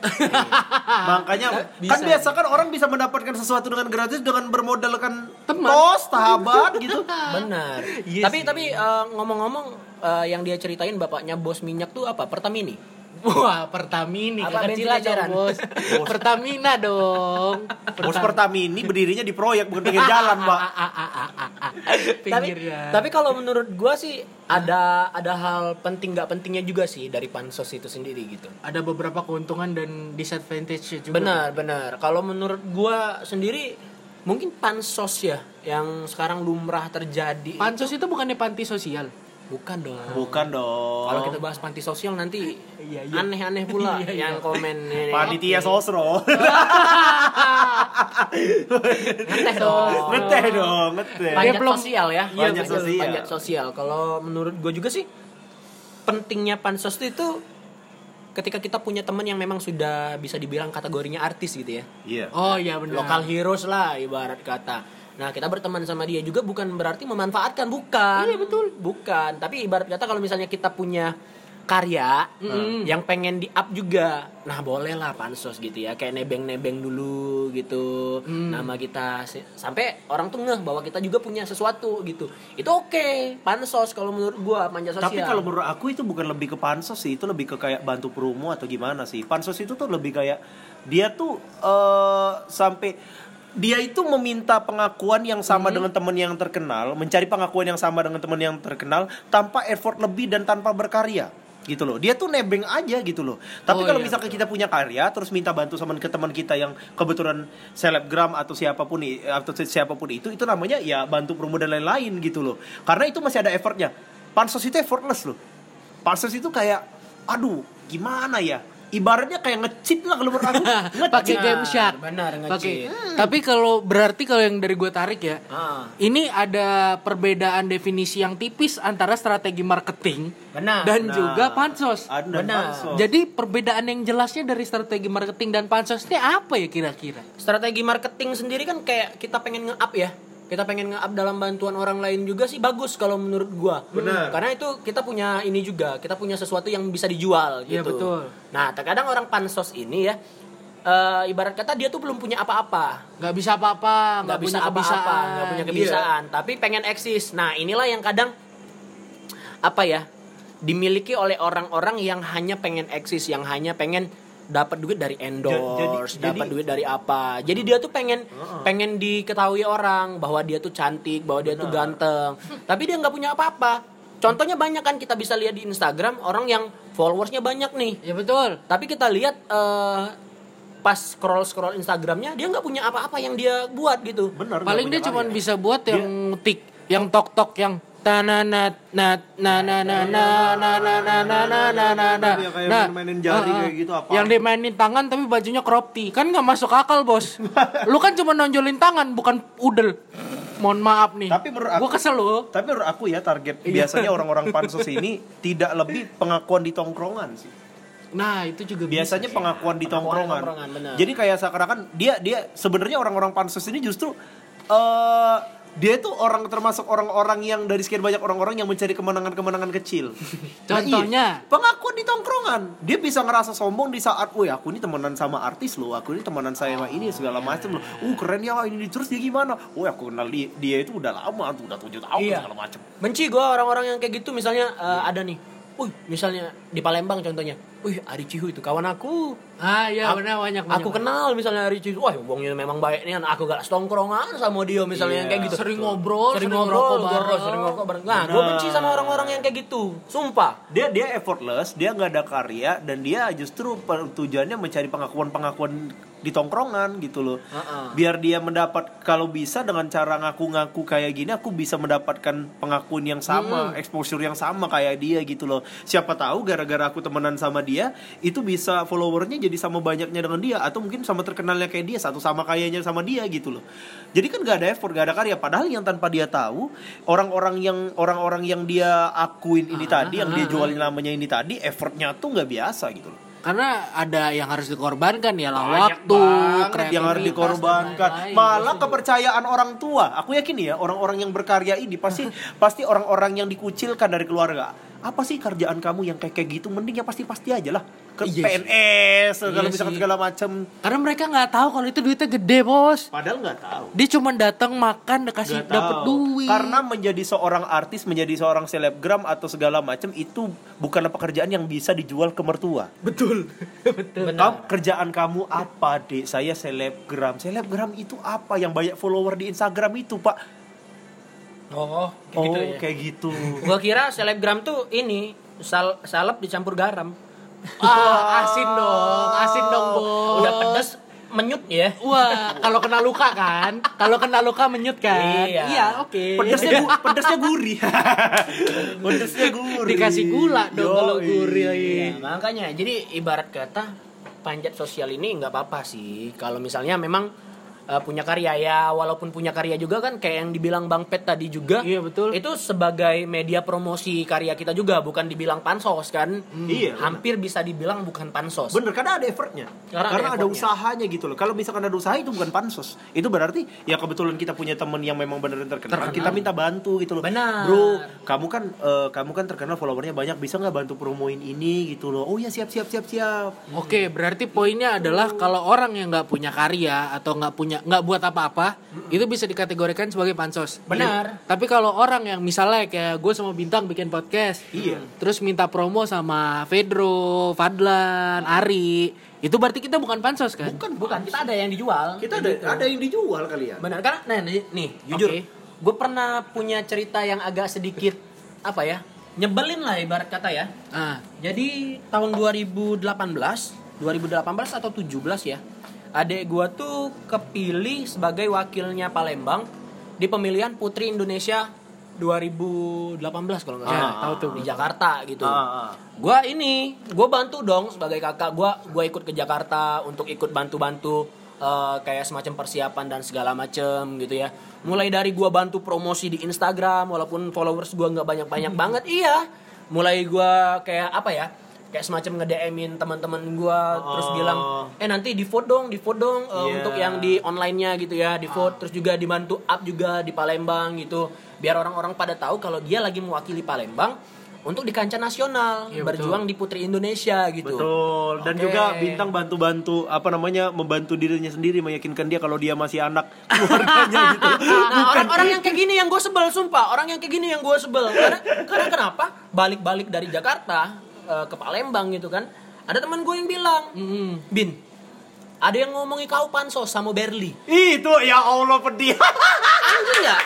Speaker 2: makanya kan biasa kan orang bisa mendapatkan sesuatu dengan gratis dengan bermodalkan
Speaker 1: Teman.
Speaker 2: tos sahabat gitu
Speaker 3: Benar. tapi tapi eh, ngomong-ngomong eh, yang dia ceritain bapaknya bos minyak tuh apa? Pertamini.
Speaker 1: wah Pertamina
Speaker 3: Apa
Speaker 1: keren
Speaker 3: Bensin
Speaker 1: juga dong,
Speaker 3: ajaran?
Speaker 1: bos Pertamina dong
Speaker 2: bos Pertamini berdirinya di proyek bukan pinggir jalan pak
Speaker 1: tapi
Speaker 3: tapi tapi kalau menurut gua sih ada ada hal penting nggak pentingnya juga sih dari pansos itu sendiri gitu.
Speaker 1: ada beberapa keuntungan dan disadvantage juga
Speaker 3: Benar, benar. Kalau menurut gua sendiri mungkin pansos ya yang sekarang lumrah terjadi.
Speaker 1: pansus itu bukannya panti sosial
Speaker 3: Bukan dong.
Speaker 2: bukan dong
Speaker 3: Kalau kita bahas panti sosial nanti aneh-aneh pula yang komen ini.
Speaker 2: panitia sosro [laughs]
Speaker 3: Aneh dong.
Speaker 2: ngeteh dong ngeteh
Speaker 3: Panjat
Speaker 1: Dia belum-
Speaker 3: sosial ya.
Speaker 2: Iya, Panjat
Speaker 3: betul,
Speaker 2: sosial.
Speaker 3: Panjat sosial. Kalau menurut gue juga sih pentingnya pansos itu ketika kita punya teman yang memang sudah bisa dibilang kategorinya artis gitu ya.
Speaker 2: iya
Speaker 1: oh iya benar
Speaker 3: Lokal heroes lah ibarat kata. Nah, kita berteman sama dia juga bukan berarti memanfaatkan, bukan. Iya, betul. Bukan, tapi ibarat kata kalau misalnya kita punya karya mm, yang pengen di-up juga. Nah, bolehlah pansos gitu ya, kayak nebeng-nebeng dulu gitu. Nama kita si- sampai orang tuh ngeh bahwa kita juga punya sesuatu gitu. Itu oke, pansos kalau menurut gua manja sosial.
Speaker 2: Tapi kalau menurut aku itu bukan lebih ke pansos sih, itu lebih ke kayak bantu promo atau gimana sih. Pansos itu tuh lebih kayak dia tuh eh sampai dia itu meminta pengakuan yang sama
Speaker 1: Hmm.
Speaker 2: dengan teman yang terkenal, mencari pengakuan yang sama dengan teman yang terkenal tanpa effort lebih dan tanpa berkarya gitu loh. Dia tuh nebeng aja gitu loh.
Speaker 1: Oh,
Speaker 2: Tapi kalau
Speaker 1: iya,
Speaker 2: misalkan kita punya karya terus minta bantu sama ke teman kita yang kebetulan selebgram atau siapapun i- atau si- siapapun itu itu namanya ya bantu promo dan lain-lain gitu loh. Karena itu masih ada effortnya. Pansos itu effortless loh. Pansos itu kayak aduh gimana ya? Ibaratnya kayak ngecit lah kalau menurut
Speaker 1: [laughs]
Speaker 2: aku.
Speaker 1: [laughs] pakai
Speaker 2: Ngecit. Nah,
Speaker 1: game shark
Speaker 3: benar, Hmm. nge-cheat.
Speaker 1: Oke. tapi kalau berarti kalau yang dari gue tarik ya
Speaker 3: Ah.
Speaker 1: ini ada perbedaan definisi yang tipis antara strategi marketing
Speaker 3: Benar.
Speaker 1: dan
Speaker 2: Nah,
Speaker 1: juga pansos
Speaker 2: Ada dan
Speaker 3: Benar.
Speaker 2: pansos.
Speaker 1: jadi perbedaan yang jelasnya dari strategi marketing dan pansos ini apa ya kira-kira
Speaker 3: strategi marketing sendiri kan kayak kita pengen nge-up ya kita pengen nge-up dalam bantuan orang lain juga sih bagus kalau menurut gua
Speaker 2: Benar.
Speaker 3: karena itu kita punya ini juga kita punya sesuatu yang bisa dijual gitu
Speaker 1: Iya, betul.
Speaker 3: nah terkadang orang pansos ini ya eh, ibarat kata dia tuh belum punya apa-apa
Speaker 1: nggak bisa apa-apa
Speaker 3: nggak bisa apa-apa nggak punya kebiasaan Iya. tapi pengen eksis nah inilah yang kadang apa ya dimiliki oleh orang-orang yang hanya pengen eksis yang hanya pengen dapat duit dari endorse
Speaker 2: jadi-
Speaker 3: dapat duit dari apa jadi dia tuh pengen pengen diketahui orang bahwa dia tuh cantik bahwa dia tuh ganteng tapi dia nggak punya apa-apa contohnya banyak kan kita bisa lihat di Instagram orang yang followersnya banyak nih
Speaker 1: ya betul
Speaker 3: tapi kita lihat eh, pas scroll scroll Instagramnya dia nggak punya apa-apa yang dia buat gitu
Speaker 2: Benar. nggak
Speaker 1: paling
Speaker 2: punya
Speaker 1: dia cuma
Speaker 2: karya.
Speaker 1: bisa buat yang tik yang tok tok yang tananat nat na na na na na na na na na na na na
Speaker 2: Yang kayak main-mainin
Speaker 1: ah,
Speaker 2: jari
Speaker 1: ah.
Speaker 2: kayak gitu apa?
Speaker 1: yang dimainin tangan tapi bajunya crop tee kan nggak masuk akal
Speaker 2: [laughs]
Speaker 1: bos lu kan cuma nonjolin tangan bukan udel mohon maaf nih
Speaker 2: Tapi menurut aku-
Speaker 1: gua kesel lu
Speaker 2: Tapi menurut aku ya target
Speaker 1: Iya.
Speaker 2: biasanya orang-orang pansos
Speaker 1: [laughs]
Speaker 2: ini tidak lebih pengakuan di tongkrongan sih.
Speaker 1: nah itu juga bisa.
Speaker 2: gitu. biasanya pengakuan di tongkrongan.
Speaker 3: tongkrongan, benar.
Speaker 2: Jadi kayak seakan-akan dia dia sebenarnya orang-orang pansus ini justru eh dia itu orang termasuk orang-orang yang dari sekian banyak orang-orang yang mencari kemenangan-kemenangan kecil. Nah, iya.
Speaker 1: Contohnya?
Speaker 2: pengakuan di tongkrongan. Dia bisa ngerasa sombong di saat, "Woi, aku ini temenan sama artis loh, aku ini temenan saya sama ini segala macam loh. Uh, keren ya ini terus dia gimana? Woi, aku kenal dia, dia itu udah lama tuh, udah 7 tahun
Speaker 3: Iya.
Speaker 2: segala macam."
Speaker 3: benci gue orang-orang yang kayak gitu misalnya eh, ada nih Wih, misalnya di Palembang contohnya. Wih, Ari Cihu itu kawan aku.
Speaker 1: ah ya
Speaker 3: Aku-
Speaker 1: benar banyak banyak
Speaker 3: Aku kenal misalnya Ari Cihu. Wah, wongnya memang baik nih. Aku gak setongkrongan sama dia misalnya yang kayak gitu.
Speaker 1: Iya. Sering ngobrol, sering
Speaker 3: sering
Speaker 1: ngerokok
Speaker 3: ngobrol, ngobrol,
Speaker 1: bareng.
Speaker 3: sering ngerokok bareng. Nah, gue benci sama orang-orang yang kayak gitu. Sumpah.
Speaker 2: dia dia effortless dia nggak ada karya dan dia justru per- tujuannya mencari pengakuan pengakuan di tongkrongan gitu loh.
Speaker 4: Heeh.
Speaker 2: Biar dia mendapat kalau bisa dengan cara ngaku-ngaku kayak gini aku bisa mendapatkan pengakuan yang sama, exposure yang sama kayak dia gitu loh. Siapa tahu gara-gara aku temenan sama dia itu bisa followernya jadi sama banyaknya dengan dia atau mungkin sama terkenalnya kayak dia, satu sama kayanya sama dia gitu loh. Jadi kan gak ada effort, gak ada karya padahal yang tanpa dia tahu orang-orang yang orang-orang yang dia akuin ini tadi, yang dia jualin namanya ini tadi, effortnya tuh nggak biasa gitu loh.
Speaker 1: Karena ada yang harus dikorbankan ya lah
Speaker 2: Banyak
Speaker 1: waktu,
Speaker 2: banget yang
Speaker 1: kreativitas,
Speaker 2: harus dikorbankan.
Speaker 1: dan lain-lain.
Speaker 2: Malah kepercayaan orang tua. Aku yakin ya orang-orang yang berkarya
Speaker 1: [laughs]
Speaker 2: ini pasti pasti orang-orang yang dikucilkan dari keluarga. Apa sih kerjaan kamu yang kayak kayak gitu? Mending yang pasti-pasti aja lah. Ke
Speaker 1: Iya sih.
Speaker 2: PNS, segala
Speaker 1: Iya
Speaker 2: misalkan
Speaker 1: sih.
Speaker 2: segala macam.
Speaker 1: Karena mereka nggak tahu kalau itu duitnya gede, Bos.
Speaker 2: Padahal nggak tahu.
Speaker 1: Dia cuma datang makan dikasih
Speaker 2: Nggak
Speaker 1: dapat
Speaker 2: tahu.
Speaker 1: duit.
Speaker 2: Karena menjadi seorang artis, menjadi seorang selebgram atau segala macam itu bukanlah pekerjaan yang bisa dijual ke mertua.
Speaker 3: [laughs]
Speaker 1: betul. betul.
Speaker 2: Kamu kerjaan kamu apa, Dek? Saya selebgram. Selebgram itu apa yang banyak follower di Instagram itu, Pak?
Speaker 4: Oh, kayak
Speaker 2: oh,
Speaker 4: gitu ya.
Speaker 2: kayak gitu.
Speaker 3: Gua kira selebgram tuh ini sal salep dicampur garam.
Speaker 1: Ah, asin dong, asin dong, Bos.
Speaker 3: Udah pedes menyut ya.
Speaker 1: Wah, kalau kena luka kan? Kalau kena luka menyut kan?
Speaker 3: Iya.
Speaker 1: oke.
Speaker 2: Pedasnya gu- pedasnya gurih. [laughs] pedasnya gurih.
Speaker 1: Dikasih gula dong
Speaker 2: Yoi.
Speaker 1: kalau gurih.
Speaker 3: Iya, makanya jadi ibarat kata panjat sosial ini nggak apa-apa sih kalau misalnya memang eh, punya karya ya walaupun punya karya juga kan kayak yang dibilang Bang Pet tadi juga
Speaker 1: Iya, betul.
Speaker 3: itu sebagai media promosi karya kita juga bukan dibilang pansos kan
Speaker 1: Hmm.
Speaker 2: Iya,
Speaker 3: hampir bisa dibilang bukan pansos
Speaker 2: Bener, karena ada effortnya.
Speaker 3: Karena
Speaker 2: Karena,
Speaker 3: ada
Speaker 2: ada,
Speaker 3: effortnya.
Speaker 2: usahanya gitu loh. Kalau misalkan ada usaha itu bukan pansos. Itu berarti ya kebetulan kita punya temen yang memang beneran terkenal. Kita minta bantu gitu loh.
Speaker 3: Benar.
Speaker 2: Bro, kamu kan eh, kamu kan terkenal followernya banyak. Bisa nggak bantu promoin ini gitu loh. Oh ya siap siap siap siap.
Speaker 3: Hmm.
Speaker 1: Oke, berarti poinnya adalah kalau orang yang nggak punya karya atau nggak punya nggak buat apa-apa, itu bisa dikategorikan sebagai pansos. Iya.
Speaker 3: Benar.
Speaker 1: Tapi kalau orang yang misalnya kayak gue sama Bintang bikin podcast,
Speaker 2: Iya.
Speaker 1: terus minta promo sama Pedro, Fadlan, Ari, itu berarti kita bukan pansos kan?
Speaker 3: bukan bukan kita ada yang dijual Gitu.
Speaker 2: Kita ada ada yang dijual ya. kalian.
Speaker 3: benar karena nah, nih, nih, jujur
Speaker 1: Oke.
Speaker 3: gue pernah punya cerita yang agak sedikit apa ya nyebelin lah ibarat kata ya
Speaker 1: Ah,
Speaker 3: Jadi tahun 2018, 2018 atau 17 ya. Adek gua tuh kepilih sebagai wakilnya Palembang di pemilihan Putri Indonesia 2018 kalau nggak salah.
Speaker 1: Ah, tahu tuh.
Speaker 3: Di Jakarta gitu.
Speaker 2: Ah, ah.
Speaker 3: Gua ini, gua bantu dong sebagai kakak gua, gua ikut ke Jakarta untuk ikut bantu-bantu eh, kayak semacam persiapan dan segala macem gitu ya. Mulai dari gua bantu promosi di Instagram walaupun followers gua nggak banyak-banyak banget, iya. Mulai gua kayak apa ya? Kayak semacam nge-DM-in teman-teman gua terus bilang, "Eh nanti di vote dong, di vote dong eh,
Speaker 2: Iya.
Speaker 3: untuk yang di online-nya gitu ya, di vote terus juga dibantu up juga di Palembang gitu. Biar orang-orang pada tahu kalau dia lagi mewakili Palembang untuk di kancah nasional
Speaker 1: Iya,
Speaker 3: berjuang di Putri Indonesia gitu.
Speaker 2: Betul. Dan
Speaker 3: Oke.
Speaker 2: juga bintang bantu-bantu apa namanya membantu dirinya sendiri meyakinkan dia kalau dia masih [laughs] anak keluarganya gitu.
Speaker 3: Nah, orang-orang yang kayak gini yang gue sebel sumpah, orang yang kayak gini yang gue sebel. Karena karena kenapa? Balik-balik dari Jakarta eh, ke Palembang gitu kan. Ada teman gue yang bilang, "Bin, ada yang ngomongi kau pansos sama Berli."
Speaker 2: Ih, itu ya Allah pedih.
Speaker 3: Anjing nggak?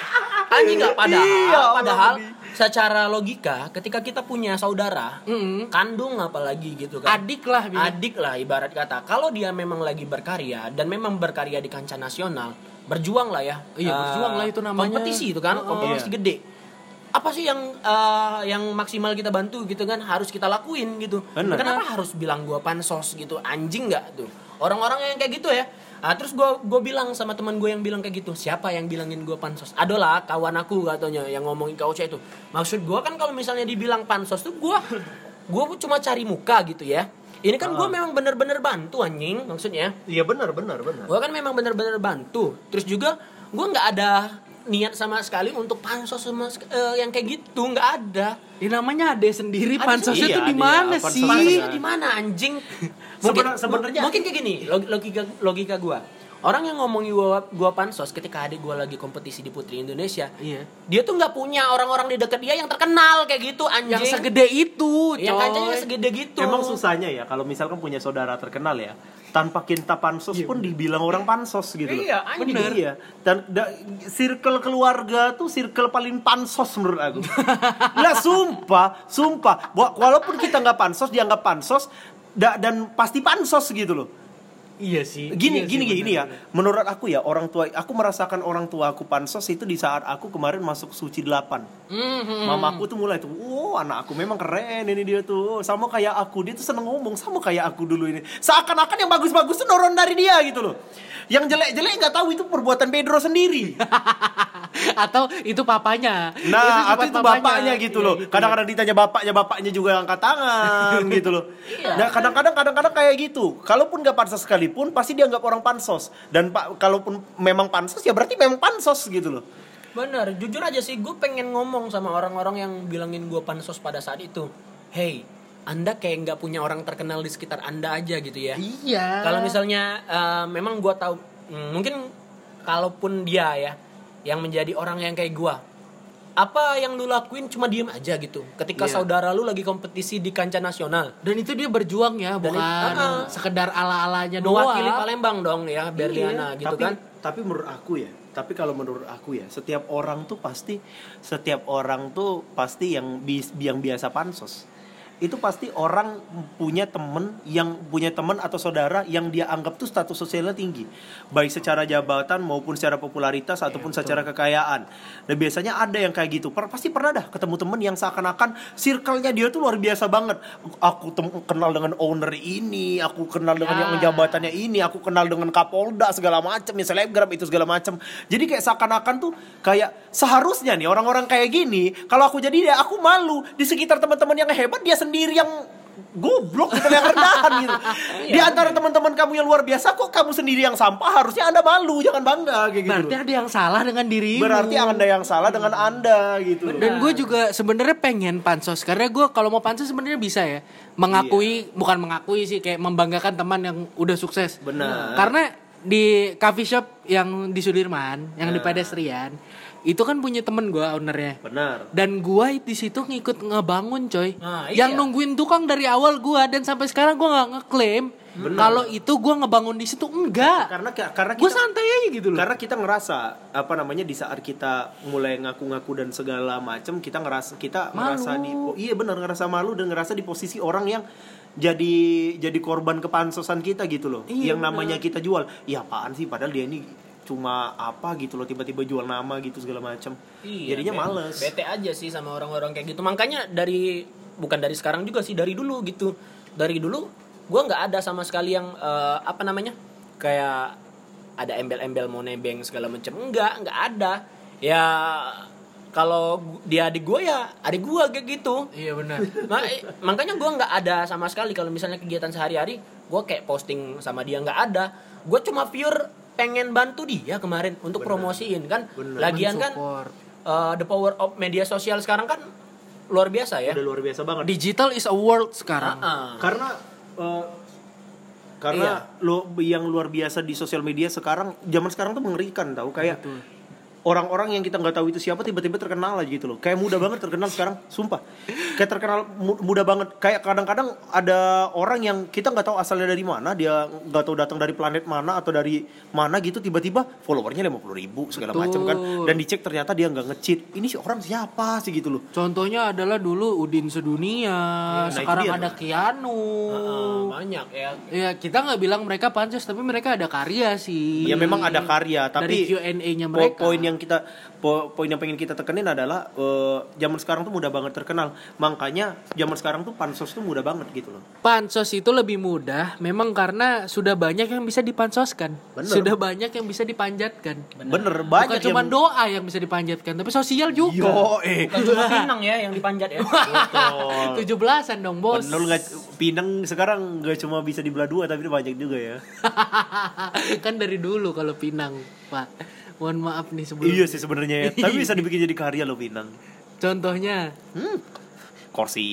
Speaker 3: Anjing nggak? Padahal,
Speaker 2: Iya, Allah
Speaker 3: padahal
Speaker 2: pedih.
Speaker 3: secara logika, ketika kita punya
Speaker 2: Mm.
Speaker 3: saudara,
Speaker 1: Mm-mm.
Speaker 3: kandung apalagi gitu kan,
Speaker 1: adik lah. Bi.
Speaker 3: adik lah ibarat kata. Kalau dia memang lagi berkarya dan memang berkarya di kancah nasional, berjuang lah ya.
Speaker 1: Iya,
Speaker 3: Eh,
Speaker 1: berjuang lah itu namanya.
Speaker 3: Kompetisi itu kan, kompetisi gede. Apa sih yang eh, yang maksimal kita bantu gitu kan harus kita lakuin gitu.
Speaker 2: Bener.
Speaker 3: Kenapa harus bilang gua pansos gitu? Anjing nggak tuh? Orang-orang yang kayak gitu ya. Ah, terus gua gua bilang sama teman gue yang bilang kayak gitu, siapa yang bilangin gua pansos? Adalah kawan aku katanya yang ngomongin kauca itu. Maksud gua kan kalau misalnya dibilang pansos tuh gua gua cuma cari muka gitu ya. Ini kan gua memang bener-bener bantu anjing maksudnya
Speaker 2: Iya benar benar benar.
Speaker 3: gue kan memang bener-bener bantu terus juga gue nggak ada niat sama sekali untuk pansos sama sek- eh, yang kayak gitu nggak ada
Speaker 1: Ya, namanya ade sendiri,
Speaker 3: Ade
Speaker 1: pansosnya
Speaker 2: sendiri,
Speaker 1: tuh
Speaker 2: iya,
Speaker 1: di
Speaker 2: ade,
Speaker 1: mana sih?
Speaker 2: apa, pansosnya
Speaker 3: Maksudnya di mana
Speaker 1: [laughs]
Speaker 3: anjing
Speaker 2: Sebenar- sebenarnya-
Speaker 3: mungkin kayak gini log- logika logika gue orang yang ngomongi gua gua pansos ketika adik gua lagi kompetisi di Putri Indonesia
Speaker 1: Iya.
Speaker 3: dia tuh nggak punya orang-orang di dekat dia yang terkenal kayak gitu anjing Iya,
Speaker 1: Yang segede itu,
Speaker 3: yang
Speaker 1: coy.
Speaker 3: kacanya segede gitu
Speaker 2: Emang susahnya ya kalau misalkan punya saudara terkenal ya, tanpa kita pansos
Speaker 1: Iya,
Speaker 2: pun dibilang orang pansos gitu loh.
Speaker 3: Iya, anjing.
Speaker 2: Bener. Iya. Dan da- circle keluarga tuh circle paling pansos menurut
Speaker 1: [laughs]
Speaker 2: aku. lah sumpah, sumpah. Wa- Walaupun kita nggak pansos, dianggap pansos, da- dan pasti pansos gitu loh.
Speaker 1: Iya sih. Iya
Speaker 2: Gini,
Speaker 1: sih,
Speaker 2: gini, gini,
Speaker 1: benar.
Speaker 2: ya. Menurut aku ya orang tua, aku merasakan orang tua aku pansos itu di saat aku kemarin masuk suci 8
Speaker 1: Mhm.
Speaker 2: Mamaku tuh mulai tuh, wow anak aku memang keren ini dia tuh, sama kayak aku dia tuh seneng ngomong sama kayak aku dulu ini. Seakan-akan yang bagus-bagus tuh noron dari dia gitu loh. Yang jelek-jelek nggak tahu itu perbuatan Pedro sendiri. [laughs]
Speaker 1: Atau itu papanya.
Speaker 2: Nah, atau
Speaker 1: sifat
Speaker 2: itu bapaknya gitu
Speaker 1: Iya,
Speaker 2: loh.
Speaker 1: gitu.
Speaker 2: Kadang-kadang ditanya bapaknya, bapaknya juga angkat [laughs] tangan gitu loh. Nah, kadang-kadang kadang-kadang kayak gitu. Kalaupun nggak pansos sekalipun pasti dianggap orang pansos. Dan Pak kalaupun memang pansos ya berarti memang pansos gitu loh.
Speaker 3: Bener, jujur aja sih gue pengen ngomong sama orang-orang yang bilangin gue pansos pada saat itu. Hey, anda kayak nggak punya orang terkenal di sekitar anda aja gitu ya.
Speaker 1: Iya.
Speaker 3: Kalau misalnya eh, memang gue tahu, mm, mungkin kalaupun dia ya yang menjadi orang yang kayak gue, apa yang lu lakuin cuma diem aja gitu. Ketika saudara lu lagi kompetisi di kancah nasional,
Speaker 1: dan itu dia berjuang ya, bukan
Speaker 3: Ah, ah.
Speaker 1: sekedar ala-alanya doang.
Speaker 3: mewakili Palembang dong ya, Berliana gitu
Speaker 2: Iya. tapi,
Speaker 3: kan.
Speaker 2: Tapi menurut aku ya, tapi kalau menurut aku ya, setiap orang tuh pasti setiap orang tuh pasti yang bis, yang biasa pansos. Itu pasti orang punya temen yang punya temen atau saudara yang dia anggap tuh status sosialnya tinggi, baik secara jabatan maupun secara popularitas ataupun
Speaker 3: Iya,
Speaker 2: secara kekayaan. Dan biasanya ada yang kayak gitu. Per- pasti pernah dah ketemu temen yang seakan-akan circle-nya dia tuh luar biasa banget. Aku tem- kenal dengan owner ini, aku kenal dengan yang
Speaker 1: Ah.
Speaker 2: jabatannya ini, aku kenal dengan Kapolda segala macam, ya selebgram itu segala macam. Jadi kayak seakan-akan tuh kayak seharusnya nih orang-orang kayak gini, kalau aku jadi dia aku malu di sekitar teman-teman yang hebat dia sendiri yang goblok gitu yang rendahan
Speaker 1: [laughs]
Speaker 2: gitu.
Speaker 1: Iya,
Speaker 2: Di antara teman-teman kamu yang luar biasa kok kamu sendiri yang sampah, harusnya Anda malu, jangan bangga kayak gitu.
Speaker 1: Berarti
Speaker 2: loh.
Speaker 1: ada yang salah dengan dirimu.
Speaker 2: Berarti Anda yang salah dengan Anda gitu. loh.
Speaker 1: Dan gue juga sebenarnya pengen pansos karena gue kalau mau pansos sebenarnya bisa ya
Speaker 2: Iya.
Speaker 1: mengakui bukan mengakui sih kayak membanggakan teman yang udah sukses.
Speaker 2: Benar.
Speaker 1: Karena di coffee shop yang di Sudirman yang
Speaker 2: Iya.
Speaker 1: di Pedestrian itu kan punya temen gue ownernya.
Speaker 2: Benar.
Speaker 1: Dan gua di situ ngikut ngebangun coy.
Speaker 3: Nah,
Speaker 1: Yang
Speaker 3: iya.
Speaker 1: nungguin tukang dari awal gua dan sampai sekarang gua nggak ngeklaim kalau itu gua ngebangun di situ enggak.
Speaker 2: Karena karena
Speaker 1: Gua
Speaker 2: kita
Speaker 1: santai aja gitu loh.
Speaker 2: Karena kita ngerasa apa namanya di saat kita mulai ngaku-ngaku dan segala macam kita ngerasa kita ngerasa di po- iya benar ngerasa malu dan ngerasa di posisi orang yang jadi jadi korban kepansosan kita gitu loh. yang namanya kita jual. Ya apaan sih padahal dia ini cuma apa gitu loh tiba-tiba jual nama gitu segala macam.
Speaker 3: Iya,
Speaker 2: Jadinya
Speaker 3: bete-
Speaker 2: males.
Speaker 3: Bete aja sih sama orang-orang kayak gitu. Makanya dari bukan dari sekarang juga sih dari dulu gitu. Dari dulu gua nggak ada sama sekali yang eh, apa namanya kayak ada embel-embel mau nebeng segala macam. Enggak, nggak ada. Ya kalau gu- dia adik gue ya adik gue kayak gitu.
Speaker 1: Iya benar.
Speaker 3: Ma- eh, makanya gue nggak ada sama sekali kalau misalnya kegiatan sehari-hari gue kayak posting sama dia nggak ada gue cuma pure pengen bantu dia kemarin untuk promosiin kan lagian kan
Speaker 1: Mensupport.
Speaker 3: eh, the power of media sosial sekarang kan luar biasa ya
Speaker 2: Udah luar biasa banget.
Speaker 1: Digital is a world sekarang.
Speaker 3: Ah,
Speaker 2: karena eh, karena lo yang luar biasa di sosial media sekarang zaman sekarang tuh mengerikan tau kayak orang-orang yang kita nggak tahu itu siapa tiba-tiba terkenal aja gitu loh kayak mudah banget terkenal sekarang sumpah kayak terkenal mu- mudah banget kayak kadang-kadang ada orang yang kita nggak tahu asalnya dari mana dia nggak tahu datang dari planet mana atau dari mana gitu tiba-tiba followernya 50.000 ribu segala macam kan dan dicek ternyata dia nggak ngecheat ini si orang siapa sih gitu loh
Speaker 1: Contohnya adalah dulu Udin Sedunia,
Speaker 2: nah
Speaker 1: sekarang
Speaker 2: itu dia,
Speaker 1: ada
Speaker 2: Bang.
Speaker 1: Kianu.
Speaker 3: ah, banyak ya
Speaker 1: Ya kita nggak bilang mereka pansos, tapi mereka ada karya sih.
Speaker 2: Ya memang ada karya,
Speaker 1: Dari
Speaker 2: tapi
Speaker 1: Q&A-nya
Speaker 2: po-
Speaker 1: mereka.
Speaker 2: Poin yang kita po- poin yang pengen kita tekenin adalah eh, zaman sekarang tuh mudah banget terkenal. Makanya zaman sekarang tuh pansos tuh mudah banget gitu loh.
Speaker 1: Pansos itu lebih mudah, memang karena sudah banyak yang bisa dipansoskan,
Speaker 2: Bener.
Speaker 1: sudah banyak yang bisa dipanjatkan.
Speaker 2: Bener,
Speaker 1: Bukan
Speaker 2: banyak
Speaker 1: cuma
Speaker 2: yang
Speaker 1: doa yang bisa dipanjatkan, tapi sosial juga.
Speaker 2: Yo, eh.
Speaker 3: Bukan cuma pinang ya yang dipanjat ya
Speaker 1: [laughs] Tujuh belasan dong bos.
Speaker 2: Bener nggak Pinang sekarang nggak cuma bisa dibelah dua tapi banyak juga ya.
Speaker 1: [laughs] kan dari dulu kalau Pinang, Pak. Mohon maaf nih sebelum.
Speaker 2: iya sih sebenarnya ya. Tapi
Speaker 1: [laughs]
Speaker 2: bisa dibikin jadi karya loh Pinang.
Speaker 1: Contohnya.
Speaker 2: Hmm. Kursi.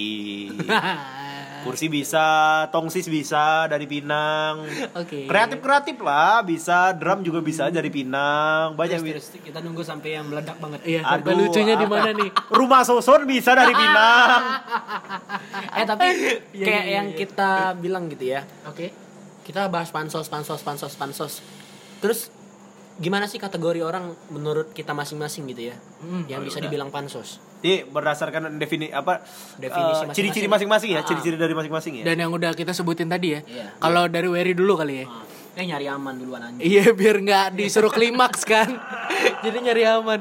Speaker 2: Kursi bisa, tongsis bisa dari Pinang.
Speaker 1: [laughs] Oke.
Speaker 2: Kreatif-kreatif lah, bisa drum juga bisa dari Pinang. Banyak
Speaker 3: Terus kita nunggu sampai yang meledak banget
Speaker 1: Iya, [laughs] sampai lucunya di mana
Speaker 2: apa-
Speaker 1: nih?
Speaker 2: [laughs]
Speaker 1: Ah,
Speaker 2: Rumah susun bisa dari Pinang.
Speaker 3: eh tapi kayak yang kita bilang gitu ya
Speaker 1: Oke.
Speaker 3: kita bahas pansos pansos pansos pansos terus gimana sih kategori orang menurut kita masing-masing gitu ya yang bisa dibilang pansos
Speaker 2: Jadi berdasarkan defini apa
Speaker 3: Definisi
Speaker 2: eh,
Speaker 1: Ah,
Speaker 2: ciri-ciri masing-masing ya, ciri-ciri dari masing-masing ya.
Speaker 1: Dan yang udah kita sebutin tadi ya.
Speaker 3: Iya.
Speaker 1: Kalau dari Wery dulu kali ya.
Speaker 3: eh nyari aman duluan anjing
Speaker 1: Iya biar nggak disuruh klimaks
Speaker 3: [laughs]
Speaker 1: kan. Jadi nyari aman.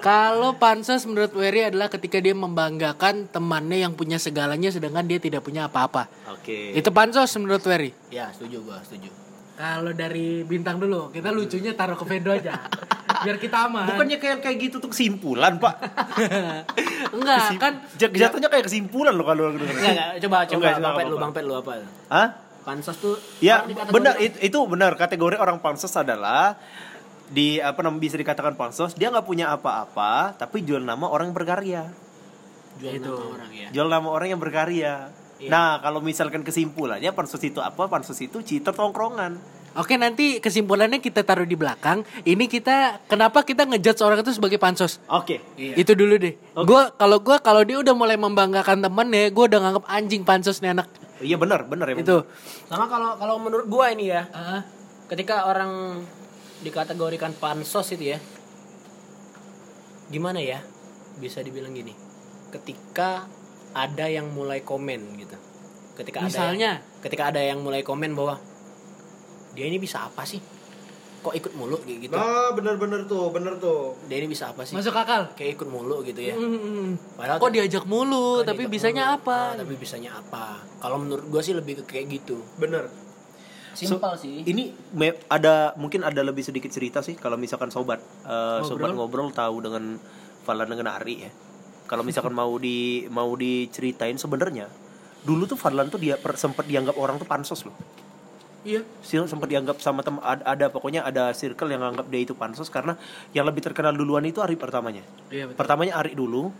Speaker 1: Kalau pansos menurut Wery adalah ketika dia membanggakan temannya yang punya segalanya sedangkan dia tidak punya apa-apa.
Speaker 3: Iya.
Speaker 2: Oke.
Speaker 1: Itu pansos menurut Wery.
Speaker 3: ya setuju gua setuju
Speaker 1: Kalau dari bintang dulu, kita lucunya taruh ke Fedo [laughs] aja. biar kita aman.
Speaker 2: Bukannya kayak kayak gitu tuh kesimpulan, Pak.
Speaker 1: Enggak, [laughs] kan
Speaker 2: J- Jatuhnya kayak kesimpulan loh kalau lu
Speaker 3: Enggak, enggak, coba
Speaker 2: Oh,
Speaker 3: coba
Speaker 2: enggak, enggak
Speaker 3: bang pet lu
Speaker 2: apa-apa.
Speaker 3: bang pet lu apa
Speaker 2: Hah?
Speaker 3: pansos tuh
Speaker 2: Ya,
Speaker 3: orang dikatakan
Speaker 2: benar it- itu benar kategori orang pansos adalah di apa namanya bisa dikatakan pansos dia nggak punya apa-apa tapi jual nama orang yang berkarya
Speaker 3: jual
Speaker 1: Gitu.
Speaker 3: itu orang ya
Speaker 2: jual nama orang yang berkarya nah kalau misalkan kesimpulannya pansos itu apa pansos itu cheater tongkrongan
Speaker 1: Oke nanti kesimpulannya kita taruh di belakang. Ini kita kenapa kita ngejudge orang itu sebagai pansos?
Speaker 2: oke
Speaker 1: Itu dulu deh. Gua kalau gua kalau dia udah mulai membanggakan temennya, gua udah nganggep anjing pansos nih anak.
Speaker 2: iya benar benar ya
Speaker 1: Itu.
Speaker 3: sama kalau kalau menurut gua ini ya
Speaker 1: Ah,
Speaker 3: ketika orang dikategorikan pansos itu ya gimana ya bisa dibilang gini ketika ada yang mulai komen gitu ketika
Speaker 1: Misalnya?
Speaker 3: ada yang, ketika ada yang mulai komen bahwa dia ini bisa apa sih kok ikut mulu kayak gitu
Speaker 2: nah benar-benar tuh benar tuh
Speaker 3: dia ini bisa apa sih
Speaker 1: masuk akal.
Speaker 3: kayak ikut mulu gitu ya
Speaker 1: Hmm,
Speaker 3: Padahal
Speaker 1: kok
Speaker 3: tuh-
Speaker 1: diajak mulu, tapi
Speaker 3: Oh, Diajak
Speaker 1: bisanya
Speaker 3: mulu.
Speaker 1: apa?
Speaker 3: Ah, tapi bisanya apa kalau menurut gua sih lebih ke kayak gitu
Speaker 2: benar
Speaker 3: simpel sih
Speaker 2: ini me- ada mungkin ada lebih sedikit cerita sih kalau misalkan sobat eh, sobat ngobrol tahu dengan Falan dengan Ari ya kalau misalkan mau di mau diceritain sebenarnya dulu tuh Falan tuh dia per- sempat dianggap orang tuh pansos loh
Speaker 1: Iya.
Speaker 2: sempat dianggap sama tem ad- ada pokoknya ada circle yang anggap dia itu pansos karena yang lebih terkenal duluan itu Ari pertamanya
Speaker 1: Iya, betul.
Speaker 2: pertamanya Ari dulu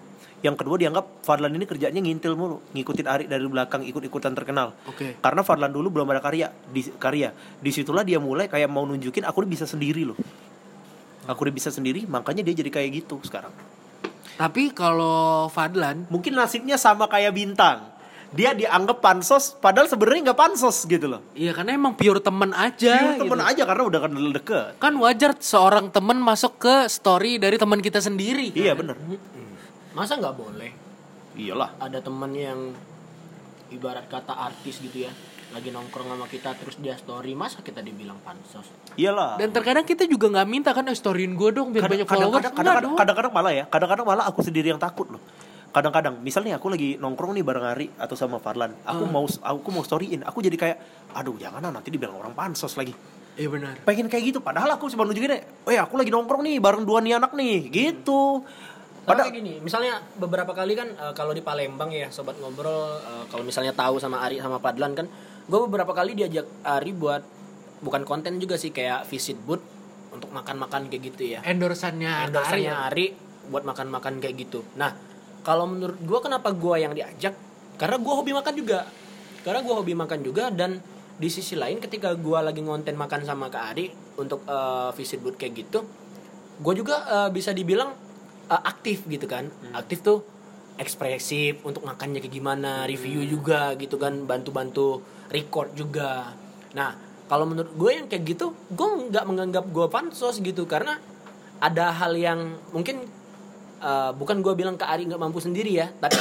Speaker 2: yang kedua dianggap Fadlan ini kerjanya ngintil mulu ngikutin Ari dari belakang ikut-ikutan terkenal
Speaker 1: Oke.
Speaker 2: karena Fadlan dulu belum ada karya di karya disitulah dia mulai kayak mau nunjukin aku udah bisa sendiri loh aku udah bisa sendiri makanya dia jadi kayak gitu sekarang
Speaker 1: Tapi kalau Fadlan
Speaker 2: mungkin nasibnya sama kayak bintang dia dianggap pansos padahal sebenarnya nggak pansos gitu loh
Speaker 1: Iya karena emang pure temen aja
Speaker 2: Dia temen
Speaker 1: gitu.
Speaker 2: aja karena udah kenal deket
Speaker 1: Kan wajar seorang temen masuk ke story dari teman kita sendiri
Speaker 2: iya bener
Speaker 3: masa nggak boleh
Speaker 2: iyalah
Speaker 3: ada teman yang ibarat kata artis gitu ya lagi nongkrong sama kita terus dia story masa kita dibilang pansos
Speaker 2: iyalah
Speaker 1: Dan terkadang kita juga nggak minta kan eh, storyin gue dong biar banyak followers
Speaker 2: kadang-kadang
Speaker 1: Nggak
Speaker 2: kadang-kadang
Speaker 1: dong.
Speaker 2: kadang-kadang malah ya kadang-kadang malah aku sendiri yang takut loh kadang-kadang misalnya aku lagi nongkrong nih bareng Ari atau sama Farlan aku
Speaker 1: Ah.
Speaker 2: mau aku mau storyin aku jadi kayak aduh jangan lah, nanti dibilang orang pansos lagi
Speaker 1: Iya benar.
Speaker 2: pengen kayak gitu padahal aku cuma nunjukin eh aku lagi nongkrong nih bareng dua nih anak nih gitu
Speaker 3: Padahal
Speaker 2: padahal
Speaker 3: kayak gini, misalnya beberapa kali kan eh, kalau di Palembang ya sobat ngobrol eh, kalau misalnya tahu sama Ari sama Padlan kan, gue beberapa kali diajak Ari buat bukan konten juga sih kayak visit booth untuk makan-makan kayak gitu ya.
Speaker 1: Endorsannya
Speaker 3: Endorsannya
Speaker 1: Ari.
Speaker 3: Ari buat makan-makan kayak gitu. Nah, kalau menurut gue kenapa gue yang diajak? Karena gue hobi makan juga. Karena gue hobi makan juga dan di sisi lain ketika gue lagi ngonten makan sama Kak Ari untuk eh, visit booth kayak gitu, gue juga eh, bisa dibilang eh, aktif gitu kan. Aktif tuh ekspresif untuk makannya kayak gimana, review juga gitu kan, bantu-bantu record juga. Nah, kalau menurut gue yang kayak gitu, gue nggak menganggap gue pansos gitu karena ada hal yang mungkin eh, bukan gue bilang ke Ari nggak mampu sendiri ya [coughs] tapi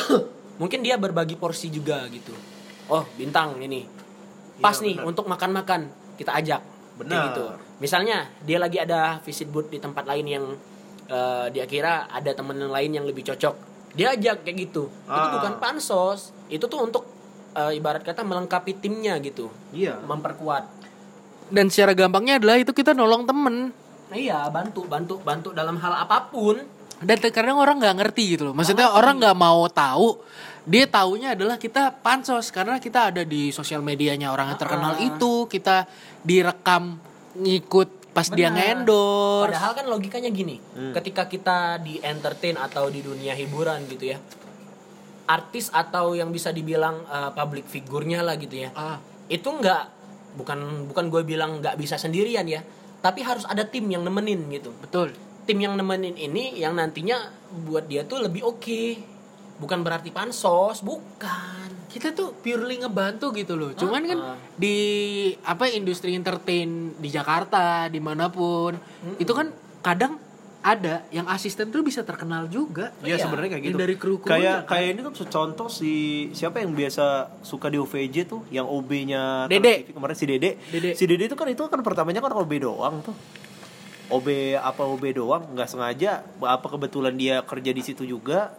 Speaker 3: mungkin dia berbagi porsi juga gitu oh bintang ini pas nih untuk makan-makan kita ajak
Speaker 2: Iya,
Speaker 3: Kayak
Speaker 2: Benar.
Speaker 3: gitu misalnya dia lagi ada visit booth di tempat lain yang eh, dia kira ada temen lain yang lebih cocok dia ajak kayak gitu itu
Speaker 2: Ah.
Speaker 3: bukan pansos itu tuh untuk eh, ibarat kata melengkapi timnya gitu
Speaker 2: iya
Speaker 3: memperkuat
Speaker 1: Dan secara gampangnya adalah itu kita nolong temen.
Speaker 3: Nah, iya bantu bantu bantu dalam hal apapun
Speaker 1: Dan terkadang orang nggak ngerti gitu loh. Maksudnya orang nggak mau tahu. Dia taunya adalah kita pansos karena kita ada di sosial medianya orang yang terkenal itu, kita direkam ngikut pas dia
Speaker 3: Benar.
Speaker 1: ngendor.
Speaker 3: Padahal kan logikanya gini,
Speaker 2: Hmm.
Speaker 3: ketika kita di entertain atau di dunia hiburan gitu ya, artis atau yang bisa dibilang eh, public figurnya lah gitu ya,
Speaker 1: Ah.
Speaker 3: itu nggak bukan bukan gue bilang nggak bisa sendirian ya, tapi harus ada tim yang nemenin gitu.
Speaker 1: Betul.
Speaker 3: Tim yang nemenin ini yang nantinya buat dia tuh lebih oke, bukan berarti pansos, bukan.
Speaker 1: kita tuh purely ngebantu gitu loh. Cuman kan di Hmm. apa industri entertain di Jakarta dimanapun itu kan kadang ada yang asisten tuh bisa terkenal juga.
Speaker 2: Iya sebenarnya kayak
Speaker 1: Yang
Speaker 2: gitu.
Speaker 1: dari kru-kru
Speaker 2: kayak
Speaker 1: ya, kan?
Speaker 2: kayak ini tuh contoh si siapa yang biasa suka di OVJ tuh yang OB-nya
Speaker 1: Dede.
Speaker 2: kemarin si Dede.
Speaker 1: Dede.
Speaker 2: Si Dede itu kan itu kan pertamanya kan OB doang tuh. OB apa OB doang nggak sengaja apa kebetulan dia kerja di situ juga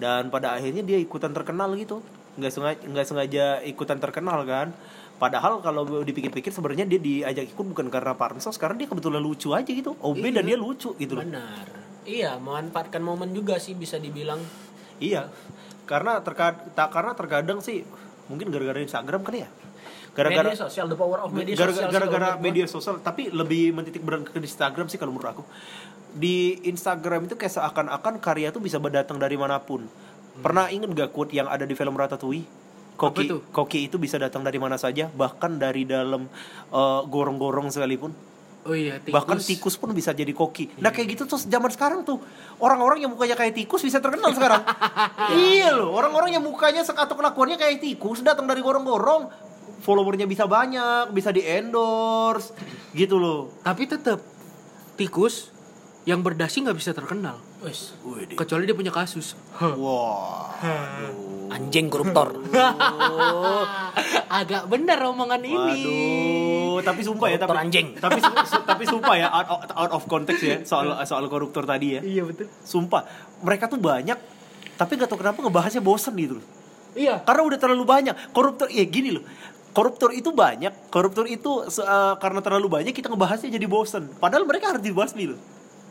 Speaker 2: dan pada akhirnya dia ikutan terkenal gitu nggak sengaja nggak sengaja ikutan terkenal kan padahal kalau dipikir-pikir sebenarnya dia diajak ikut bukan karena parsos karena dia kebetulan lucu aja gitu OB dan
Speaker 1: Iya.
Speaker 2: dia lucu gitu loh
Speaker 3: Benar. Iya, memanfaatkan momen juga sih bisa dibilang.
Speaker 2: Iya. Karena terkad tak karena terkadang sih mungkin gara-gara Instagram kan ya. Gara-gara
Speaker 3: Media sosial, the power of media
Speaker 2: gara-
Speaker 3: sosial. sih
Speaker 2: gara-gara
Speaker 3: kalau menurut
Speaker 2: media sosial tapi lebih menitik berat ke Instagram sih kalau menurut aku. Di Instagram itu kayak seakan-akan karya tuh bisa berdatang dari manapun.
Speaker 3: Hmm.
Speaker 2: Pernah inget gak quote yang ada di film Ratatouille?
Speaker 1: Apa
Speaker 2: Koki,
Speaker 1: tuh?
Speaker 2: koki itu bisa datang dari mana saja, bahkan dari dalam eh, gorong-gorong sekalipun
Speaker 1: Oh iya, tikus.
Speaker 2: bahkan tikus pun bisa jadi koki. Nah kayak gitu tuh zaman sekarang tuh orang-orang yang mukanya kayak tikus bisa terkenal
Speaker 3: [laughs]
Speaker 2: sekarang. iya loh, orang-orang yang mukanya sek- atau kelakuannya kayak tikus datang dari gorong-gorong, followernya bisa banyak, bisa di endorse, gitu loh.
Speaker 1: Tapi tetap tikus yang berdasi nggak bisa terkenal.
Speaker 3: gua. Wes,
Speaker 1: Kecuali dia punya kasus.
Speaker 2: Wah.
Speaker 3: anjing
Speaker 2: [laughs]
Speaker 3: koruptor.
Speaker 1: [laughs] Agak bener omongan ini.
Speaker 2: Waduh, tapi sumpah ya, tapi
Speaker 3: Koruptor anjing.
Speaker 2: [laughs] Tapi su- su- tapi sumpah ya out, out- out of context ya soal soal koruptor tadi ya.
Speaker 1: Iya betul.
Speaker 2: Sumpah, mereka tuh banyak tapi gak tau kenapa ngebahasnya bosen gitu loh.
Speaker 1: Iya.
Speaker 2: Karena udah terlalu banyak. Koruptor ya gini loh. Koruptor itu banyak. Koruptor itu se- eh, karena terlalu banyak kita ngebahasnya jadi bosen. Padahal mereka harus dibasmi loh.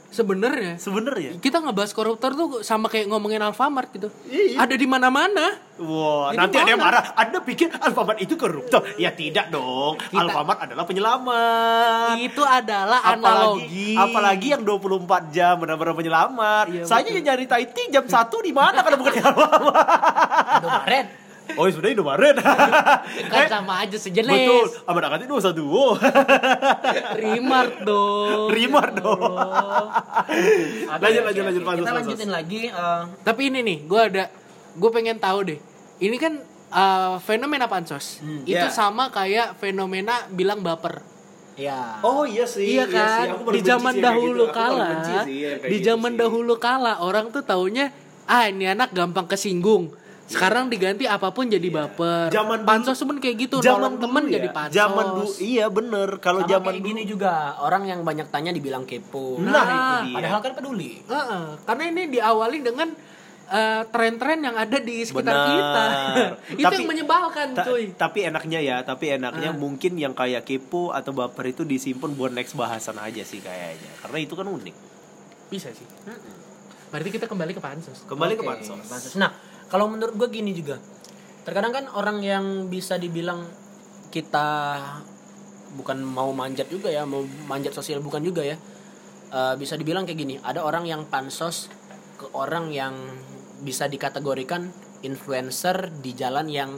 Speaker 1: Sebenarnya
Speaker 2: Sebenarnya.
Speaker 1: kita ngebahas koruptor tuh sama kayak ngomongin Alfamart gitu. Ada di mana-mana.
Speaker 2: Wah,
Speaker 1: Jadi
Speaker 2: nanti ada yang
Speaker 1: mana?
Speaker 2: marah. Anda pikir Alfamart itu koruptor? Ya tidak dong. Alfamart adalah penyelamat.
Speaker 1: Itu
Speaker 2: Iya,
Speaker 1: adalah analogi.
Speaker 2: Apalagi, apalagi yang 24 jam benar-benar penyelamat. Saya nyari Taiti jam 1 di mana kalau bukan di Alfamart?
Speaker 3: Kemarin
Speaker 2: [laughs] Oh, ya sudah Indomaret. [laughs]
Speaker 1: kan
Speaker 2: Eh,
Speaker 1: sama aja sejenis.
Speaker 2: Betul. Abang angkatnya dua satu.
Speaker 1: Remark dong.
Speaker 2: Rimar dong. lanjut, lanjut, lanjut, Pak
Speaker 3: kita
Speaker 2: Sus, Pak Sus.
Speaker 3: lanjutin lagi eh,
Speaker 1: Tapi ini nih, gue ada, gue pengen tahu deh. Ini kan uh, fenomena pansos. itu
Speaker 2: iya.
Speaker 1: sama kayak fenomena bilang baper.
Speaker 3: ya.
Speaker 2: Oh iya sih.
Speaker 1: Iya kan?
Speaker 2: sih. Aku baru
Speaker 1: di
Speaker 2: benci
Speaker 1: zaman
Speaker 2: sih yang kayak
Speaker 1: dahulu
Speaker 2: gitu. Aku baru
Speaker 1: kala,
Speaker 2: benci sih yang kayak
Speaker 1: di
Speaker 2: gitu
Speaker 1: zaman
Speaker 2: sih.
Speaker 1: dahulu kala orang tuh taunya ah ini anak gampang kesinggung. Sekarang diganti apapun jadi baper.
Speaker 2: Iya. Zaman dulu-
Speaker 1: pansos pun kayak gitu.
Speaker 2: Zaman
Speaker 1: nolong
Speaker 2: dulu
Speaker 1: temen
Speaker 2: ya.
Speaker 1: jadi pansos.
Speaker 2: Zaman dulu iya bener. Kalau
Speaker 3: Sama
Speaker 2: zaman
Speaker 3: kayak
Speaker 2: dulu.
Speaker 3: gini juga orang yang banyak tanya dibilang kepo.
Speaker 2: Nah, itu dia.
Speaker 3: padahal kan peduli.
Speaker 1: Heeh, karena ini diawali dengan eh, tren-tren yang ada di sekitar
Speaker 2: Benar.
Speaker 1: kita. [laughs] itu
Speaker 2: Tapi-
Speaker 1: yang menyebalkan,
Speaker 2: Ta-
Speaker 1: gitu, cuy. Ah.
Speaker 2: tapi enaknya ya, tapi enaknya mungkin yang kayak kepo atau baper itu disimpan buat next bahasan aja sih kayaknya. Karena itu kan unik.
Speaker 1: Bisa sih. Berarti kita kembali ke pansos.
Speaker 2: Kembali ke
Speaker 3: Oke,
Speaker 2: pansos.
Speaker 3: pansos. Nah, kalau menurut gue gini juga. Terkadang kan orang yang bisa dibilang kita bukan mau manjat juga ya, mau manjat sosial bukan juga ya. Eh, bisa dibilang kayak gini, ada orang yang pansos ke orang yang bisa dikategorikan influencer di jalan yang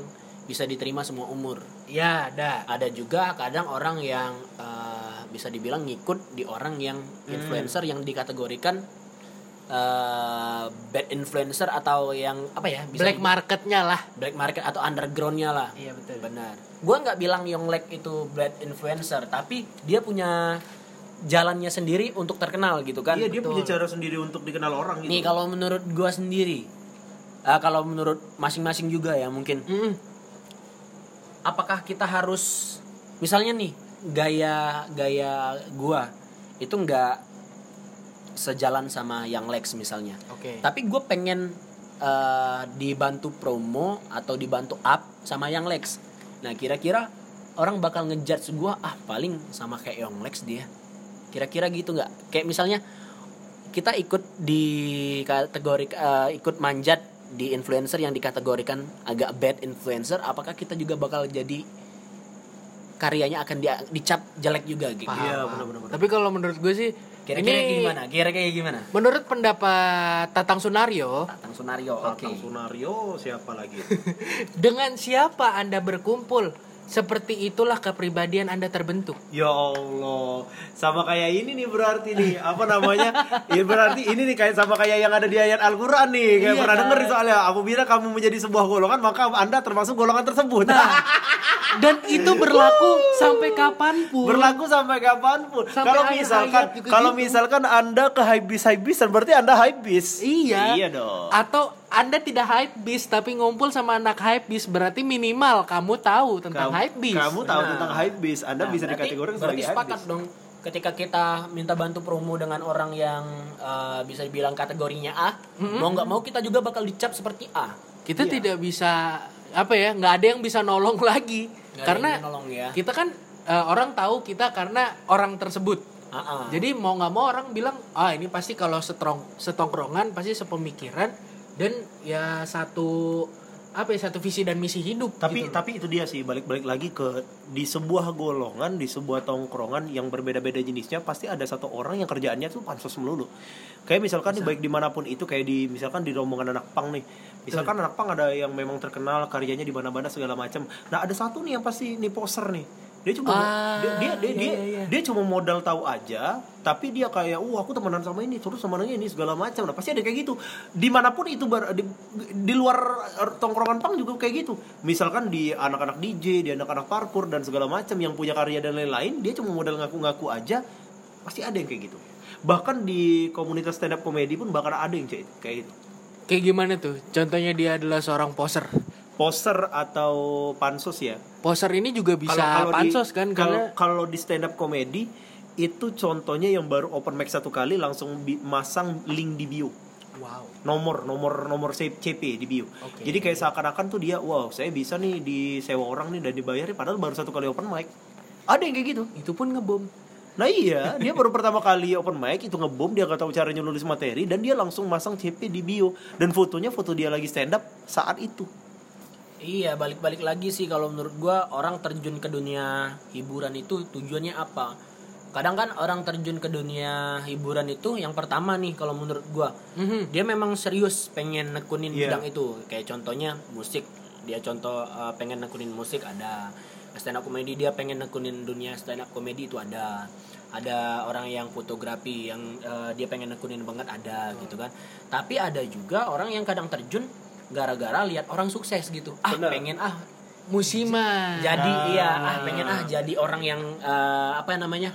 Speaker 3: bisa diterima semua umur.
Speaker 1: Ya, ada.
Speaker 3: Ada juga kadang orang yang eh, bisa dibilang ngikut di orang yang
Speaker 1: Hmm.
Speaker 3: influencer yang dikategorikan eh, bad influencer atau yang apa ya bisa
Speaker 1: Black marketnya lah.
Speaker 3: black market atau undergroundnya lah.
Speaker 1: Iya, betul.
Speaker 3: Benar. Gua nggak bilang Yonglek itu bad influencer, tapi dia punya jalannya sendiri untuk terkenal gitu kan.
Speaker 2: Iya, dia punya cara sendiri untuk dikenal orang gitu.
Speaker 3: Nih kalau menurut gua sendiri, eh, kalau menurut masing-masing juga ya mungkin
Speaker 1: Mm-mm.
Speaker 3: apakah kita harus misalnya nih gaya gaya gua itu nggak sejalan sama yang Lex misalnya
Speaker 1: Oke.
Speaker 3: tapi gue pengen eh, dibantu promo atau dibantu up sama yang Lex nah kira-kira orang bakal ngejudge gua ah paling sama kayak yang Lex dia kira-kira gitu nggak kayak misalnya kita ikut di kategori eh, ikut manjat di influencer yang dikategorikan agak bad influencer apakah kita juga bakal jadi karyanya akan dia- dicap jelek juga gitu
Speaker 1: Paham,
Speaker 2: Iya,
Speaker 1: paham.
Speaker 2: benar-benar.
Speaker 1: Tapi kalau menurut gue sih
Speaker 3: kira-kira
Speaker 1: ini
Speaker 3: gimana kira-kira gimana
Speaker 1: Menurut pendapat Tatang Sunario,
Speaker 3: Tatang Sunario oke
Speaker 2: Tatang Sunario siapa lagi?
Speaker 1: dengan siapa Anda berkumpul, seperti itulah kepribadian Anda terbentuk.
Speaker 2: Ya Allah, sama kayak ini nih berarti nih apa namanya? ya berarti ini nih kayak sama kayak yang ada di ayat Al-Qur'an nih. Kayak
Speaker 1: Iya, kan?
Speaker 2: pernah
Speaker 1: Nah,
Speaker 2: denger nih soalnya apabila kamu menjadi sebuah golongan maka Anda termasuk golongan tersebut.
Speaker 1: Dan itu berlaku sampai kapanpun.
Speaker 2: [laughs] Berlaku sampai kapanpun.
Speaker 1: Sampai
Speaker 2: Kalau
Speaker 1: akhir
Speaker 2: misalkan
Speaker 1: hayat juga
Speaker 2: kalau
Speaker 1: gitu.
Speaker 2: misalkan Anda ke habis habisan berarti Anda habis.
Speaker 1: Iya.
Speaker 2: Iya dong.
Speaker 1: Atau Anda tidak hype bis tapi ngumpul sama anak hype bis berarti minimal kamu tahu tentang
Speaker 2: Kamu,
Speaker 1: hype bis.
Speaker 2: kamu tahu
Speaker 3: Nah.
Speaker 2: tentang hype bis, Anda bisa
Speaker 3: berarti-
Speaker 2: dikategorikan
Speaker 3: berarti
Speaker 2: sebagai hype
Speaker 3: sepakat dong ketika kita minta bantu promo dengan orang yang eh, bisa dibilang kategorinya A mau nggak mau kita juga bakal dicap seperti A
Speaker 1: Kita
Speaker 3: Iya.
Speaker 1: tidak bisa apa ya? nggak ada yang bisa nolong [laughs] lagi
Speaker 3: Nggak ada
Speaker 1: karena
Speaker 3: yang nolong ya
Speaker 1: kita kan eh, orang tahu kita karena orang tersebut.
Speaker 3: Ah, ah.
Speaker 1: Jadi mau nggak mau orang bilang ah ini pasti kalau setrong setongkrongan pasti sepemikiran dan ya satu apa ya satu visi dan misi hidup.
Speaker 2: tapi
Speaker 1: gitu loh.
Speaker 2: tapi itu dia sih balik-balik lagi ke di sebuah golongan di sebuah tongkrongan yang berbeda-beda jenisnya pasti ada satu orang yang kerjaannya tuh pansos melulu kayak misalkan nih, baik dimanapun itu kayak di misalkan di rombongan anak pang nih misalkan anak pang ada yang memang terkenal karyanya di mana-mana segala macam nah ada satu nih yang pasti nih poser nih dia cuma
Speaker 1: Ah,
Speaker 2: dia dia dia,
Speaker 1: iya,
Speaker 2: dia-
Speaker 1: iya, iya.
Speaker 2: dia cuma modal tahu aja tapi dia kayak uh aku temenan sama ini terus temenannya ini segala macam nah pasti ada kayak gitu dimanapun itu bar- di, di luar eh, tongkrongan pang juga kayak gitu misalkan di anak-anak DJ di anak-anak parkour dan segala macam yang punya karya dan lain-lain dia cuma modal ngaku-ngaku aja pasti ada yang kayak gitu bahkan di komunitas stand up comedy pun bakal ada yang kayak kayak gitu
Speaker 1: Kayak gimana tuh? Contohnya dia adalah seorang poser.
Speaker 2: poster atau pansos ya
Speaker 1: Poser ini juga bisa
Speaker 2: Kalau- kalau di-
Speaker 1: pansos kan karena
Speaker 2: kalau kalau di stand up comedy itu contohnya yang baru open mic satu kali langsung bi- masang link di bio
Speaker 1: wow.
Speaker 2: nomor nomor nomor C- CP di bio.
Speaker 1: Oke.
Speaker 2: Jadi kayak seakan-akan tuh dia wow saya bisa nih disewa orang nih dan dibayarin padahal baru satu kali open mic. Ada yang kayak gitu.
Speaker 1: Itu pun ngebom.
Speaker 2: Nah iya dia baru pertama kali open mic itu ngebom dia gak tahu caranya nulis materi dan dia langsung masang CP di bio dan fotonya foto dia lagi stand up saat itu.
Speaker 3: Iya, balik-balik lagi sih kalau menurut gua orang terjun ke dunia hiburan itu tujuannya apa? Kadang kan orang terjun ke dunia hiburan itu yang pertama nih kalau menurut gua
Speaker 1: Mhm.
Speaker 3: dia memang serius pengen nekunin
Speaker 2: Mm-hmm. Iya.
Speaker 3: bidang itu. Kayak contohnya musik, dia contoh eh, pengen nekunin musik ada stand up comedy dia pengen nekunin dunia stand up comedy itu ada. Ada orang yang fotografi yang eh, dia pengen nekunin banget ada gitu kan. Tapi ada juga orang yang kadang terjun gara-gara lihat orang sukses gitu. Ah,
Speaker 2: Benar.
Speaker 3: pengen ah
Speaker 1: Musiman.
Speaker 3: jadi
Speaker 2: Ah.
Speaker 3: iya ah pengen ah jadi orang yang eh, apa namanya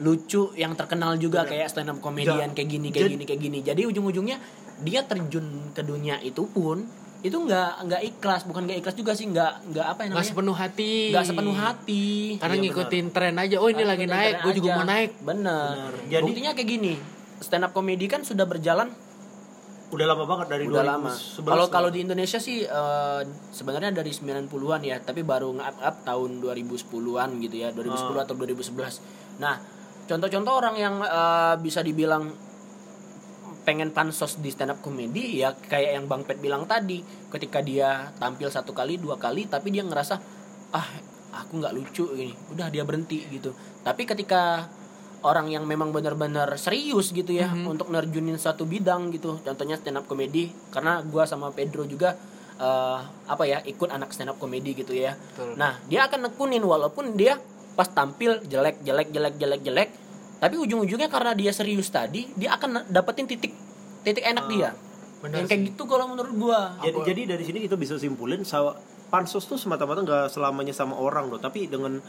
Speaker 3: lucu yang terkenal juga kayak stand up comedian
Speaker 1: Iya.
Speaker 3: kayak gini kayak
Speaker 2: Jadi-
Speaker 3: gini kayak gini jadi ujung-ujungnya dia terjun ke dunia itu pun itu nggak nggak ikhlas bukan nggak ikhlas juga sih nggak nggak apa yang
Speaker 1: nggak
Speaker 3: namanya
Speaker 1: sepenuh hati.
Speaker 3: nggak sepenuh hati
Speaker 1: Karena
Speaker 2: Iya,
Speaker 1: ngikutin tren aja. Oh ini
Speaker 3: Karena
Speaker 1: lagi
Speaker 3: ngikutin
Speaker 1: naik,
Speaker 3: tren
Speaker 1: gue juga
Speaker 3: aja.
Speaker 1: mau naik.
Speaker 3: Iya. bener,
Speaker 2: Jadi-
Speaker 3: buktinya kayak gini stand up comedy kan sudah berjalan
Speaker 2: Udah lama banget dari
Speaker 3: udah lama.
Speaker 2: 2011.
Speaker 3: Kalau kalau di Indonesia sih eh, sebenarnya dari 90-an ya, tapi baru nge-up up tahun 2010-an gitu ya, 2010 atau 2011. Nah, contoh-contoh orang yang eh, bisa dibilang pengen pansos di stand up comedy ya kayak yang Bang Pet bilang tadi, ketika dia tampil satu kali, dua kali tapi dia ngerasa ah aku nggak lucu ini. Udah dia berhenti gitu. Tapi ketika orang yang memang benar-benar serius gitu ya untuk nerjunin satu bidang gitu contohnya stand up comedy karena gua sama Pedro juga eh, apa ya ikut anak stand up comedy gitu ya
Speaker 1: Betul.
Speaker 3: nah dia akan nekunin walaupun dia pas tampil jelek jelek jelek jelek jelek tapi ujung-ujungnya karena dia serius tadi dia akan dapetin titik titik enak dia
Speaker 1: Ah, benar
Speaker 3: yang kayak gitu kalau menurut
Speaker 1: [laughs]
Speaker 3: gua
Speaker 2: Jadi jadi dari sini kita bisa simpulin saw- pansos tuh semata-mata nggak selamanya sama orang loh, tapi dengan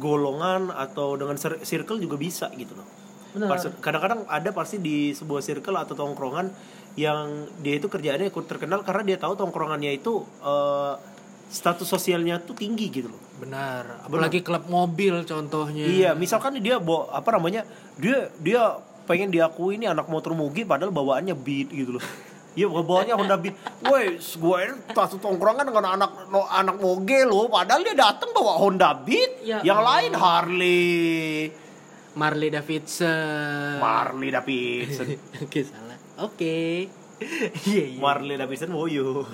Speaker 2: golongan atau dengan cir- circle juga bisa gitu loh. Pansos- Kadang-kadang ada pasti di sebuah circle atau tongkrongan yang dia itu kerjaannya ikut terkenal karena dia tahu tongkrongannya itu eh, status sosialnya tuh tinggi gitu loh.
Speaker 1: Benar. Apalagi klub mobil contohnya.
Speaker 2: Iya, misalkan dia bawa apa namanya? Dia dia pengen diakui ini anak motor mugi padahal bawaannya beat gitu loh. Iya, bawaannya Honda Beat. Woi, gue ini satu tongkrongan dengan anak no- anak moge loh, padahal dia datang bawa Honda Beat.
Speaker 1: Ya
Speaker 2: yang lain Harley,
Speaker 1: Marley Davidson. [laughs]
Speaker 2: Marley Davidson,
Speaker 1: Oke salah. Oke. [laughs] Iya iya.
Speaker 2: Marley Davidson
Speaker 1: [laughs]
Speaker 2: oh woyo.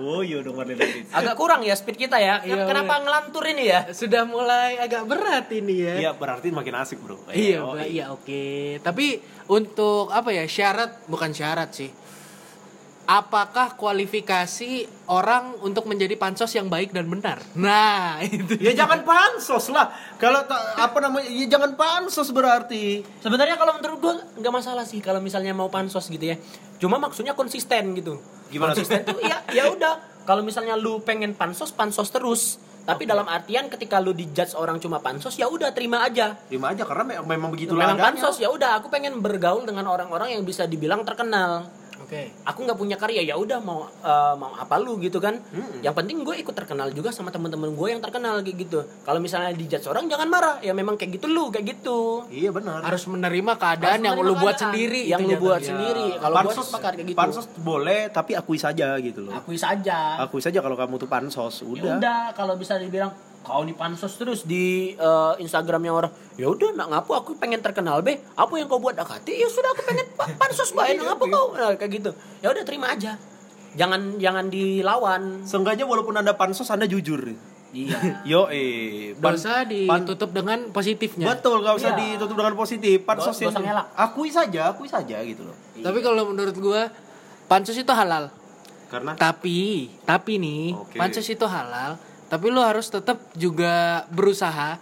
Speaker 2: woyo iya dong Marley Davidson.
Speaker 3: agak kurang ya speed kita ya
Speaker 1: Iya,
Speaker 3: kenapa ngelantur ini ya
Speaker 1: Sudah mulai agak berat ini ya.
Speaker 2: Iya, berarti makin asik, Bro.
Speaker 1: Iya,
Speaker 2: Oh,
Speaker 1: Mbak. Iya, oke. Tapi untuk apa ya? Syarat bukan syarat sih. Apakah kualifikasi orang untuk menjadi pansos yang baik dan benar? Nah, [laughs] itu.
Speaker 2: Ya jangan pansos lah. Kalau ta- apa namanya? Ya jangan pansos berarti.
Speaker 3: Sebenarnya kalau menurut gue nggak masalah sih kalau misalnya mau pansos gitu ya. Cuma maksudnya konsisten gitu.
Speaker 2: Gimana tuh?
Speaker 3: Konsisten tuh ya ya udah. Kalau misalnya lu pengen pansos, pansos terus. Tapi dalam artian ketika lu dijudge orang cuma pansos ya udah terima aja.
Speaker 2: Terima aja karena me- memang begitu
Speaker 3: Memang pansos ya udah aku pengen bergaul dengan orang-orang yang bisa dibilang terkenal.
Speaker 1: Oke.
Speaker 3: Aku nggak punya karya ya udah mau eh, mau apa lu gitu kan. Yang penting gue ikut terkenal juga sama temen-temen gue yang terkenal kayak gitu. Kalau misalnya dijudge orang jangan marah ya memang kayak gitu lu kayak gitu.
Speaker 2: Iya benar.
Speaker 1: Harus menerima keadaan Iya.
Speaker 3: Harus
Speaker 1: yang
Speaker 3: menerima
Speaker 1: lu buat
Speaker 3: keadaan.
Speaker 1: sendiri
Speaker 3: yang
Speaker 1: itu
Speaker 3: lu buat
Speaker 1: jatuhnya.
Speaker 3: sendiri. Kalau gue sepakat kayak gitu.
Speaker 2: Pansos boleh tapi akui saja gitu loh.
Speaker 3: Akui saja.
Speaker 2: Akui saja kalau kamu tuh pansos,
Speaker 3: Ya
Speaker 2: udah.
Speaker 3: udah kalau bisa dibilang kau nih pansos terus di eh, Instagramnya orang ya udah nak ngapu aku pengen terkenal be apa yang kau buat akati ya sudah aku pengen pa- pansos bae nak ngapu kau Nah, kayak gitu ya udah terima aja jangan jangan dilawan
Speaker 2: Seenggaknya walaupun Anda pansos Anda jujur.
Speaker 3: iya
Speaker 2: Yo eh pan-
Speaker 1: Dosa ditutup dengan positifnya.
Speaker 2: Betul, gak usah
Speaker 3: Iya.
Speaker 2: ditutup dengan positif. Pansos
Speaker 3: Gak- gak usah ngelak.
Speaker 2: akui saja, akui saja gitu loh.
Speaker 1: Tapi kalau menurut gua pansus itu halal.
Speaker 2: Karena
Speaker 1: Tapi, tapi nih,
Speaker 2: Oke.
Speaker 1: pansus itu halal, tapi lu harus tetap juga berusaha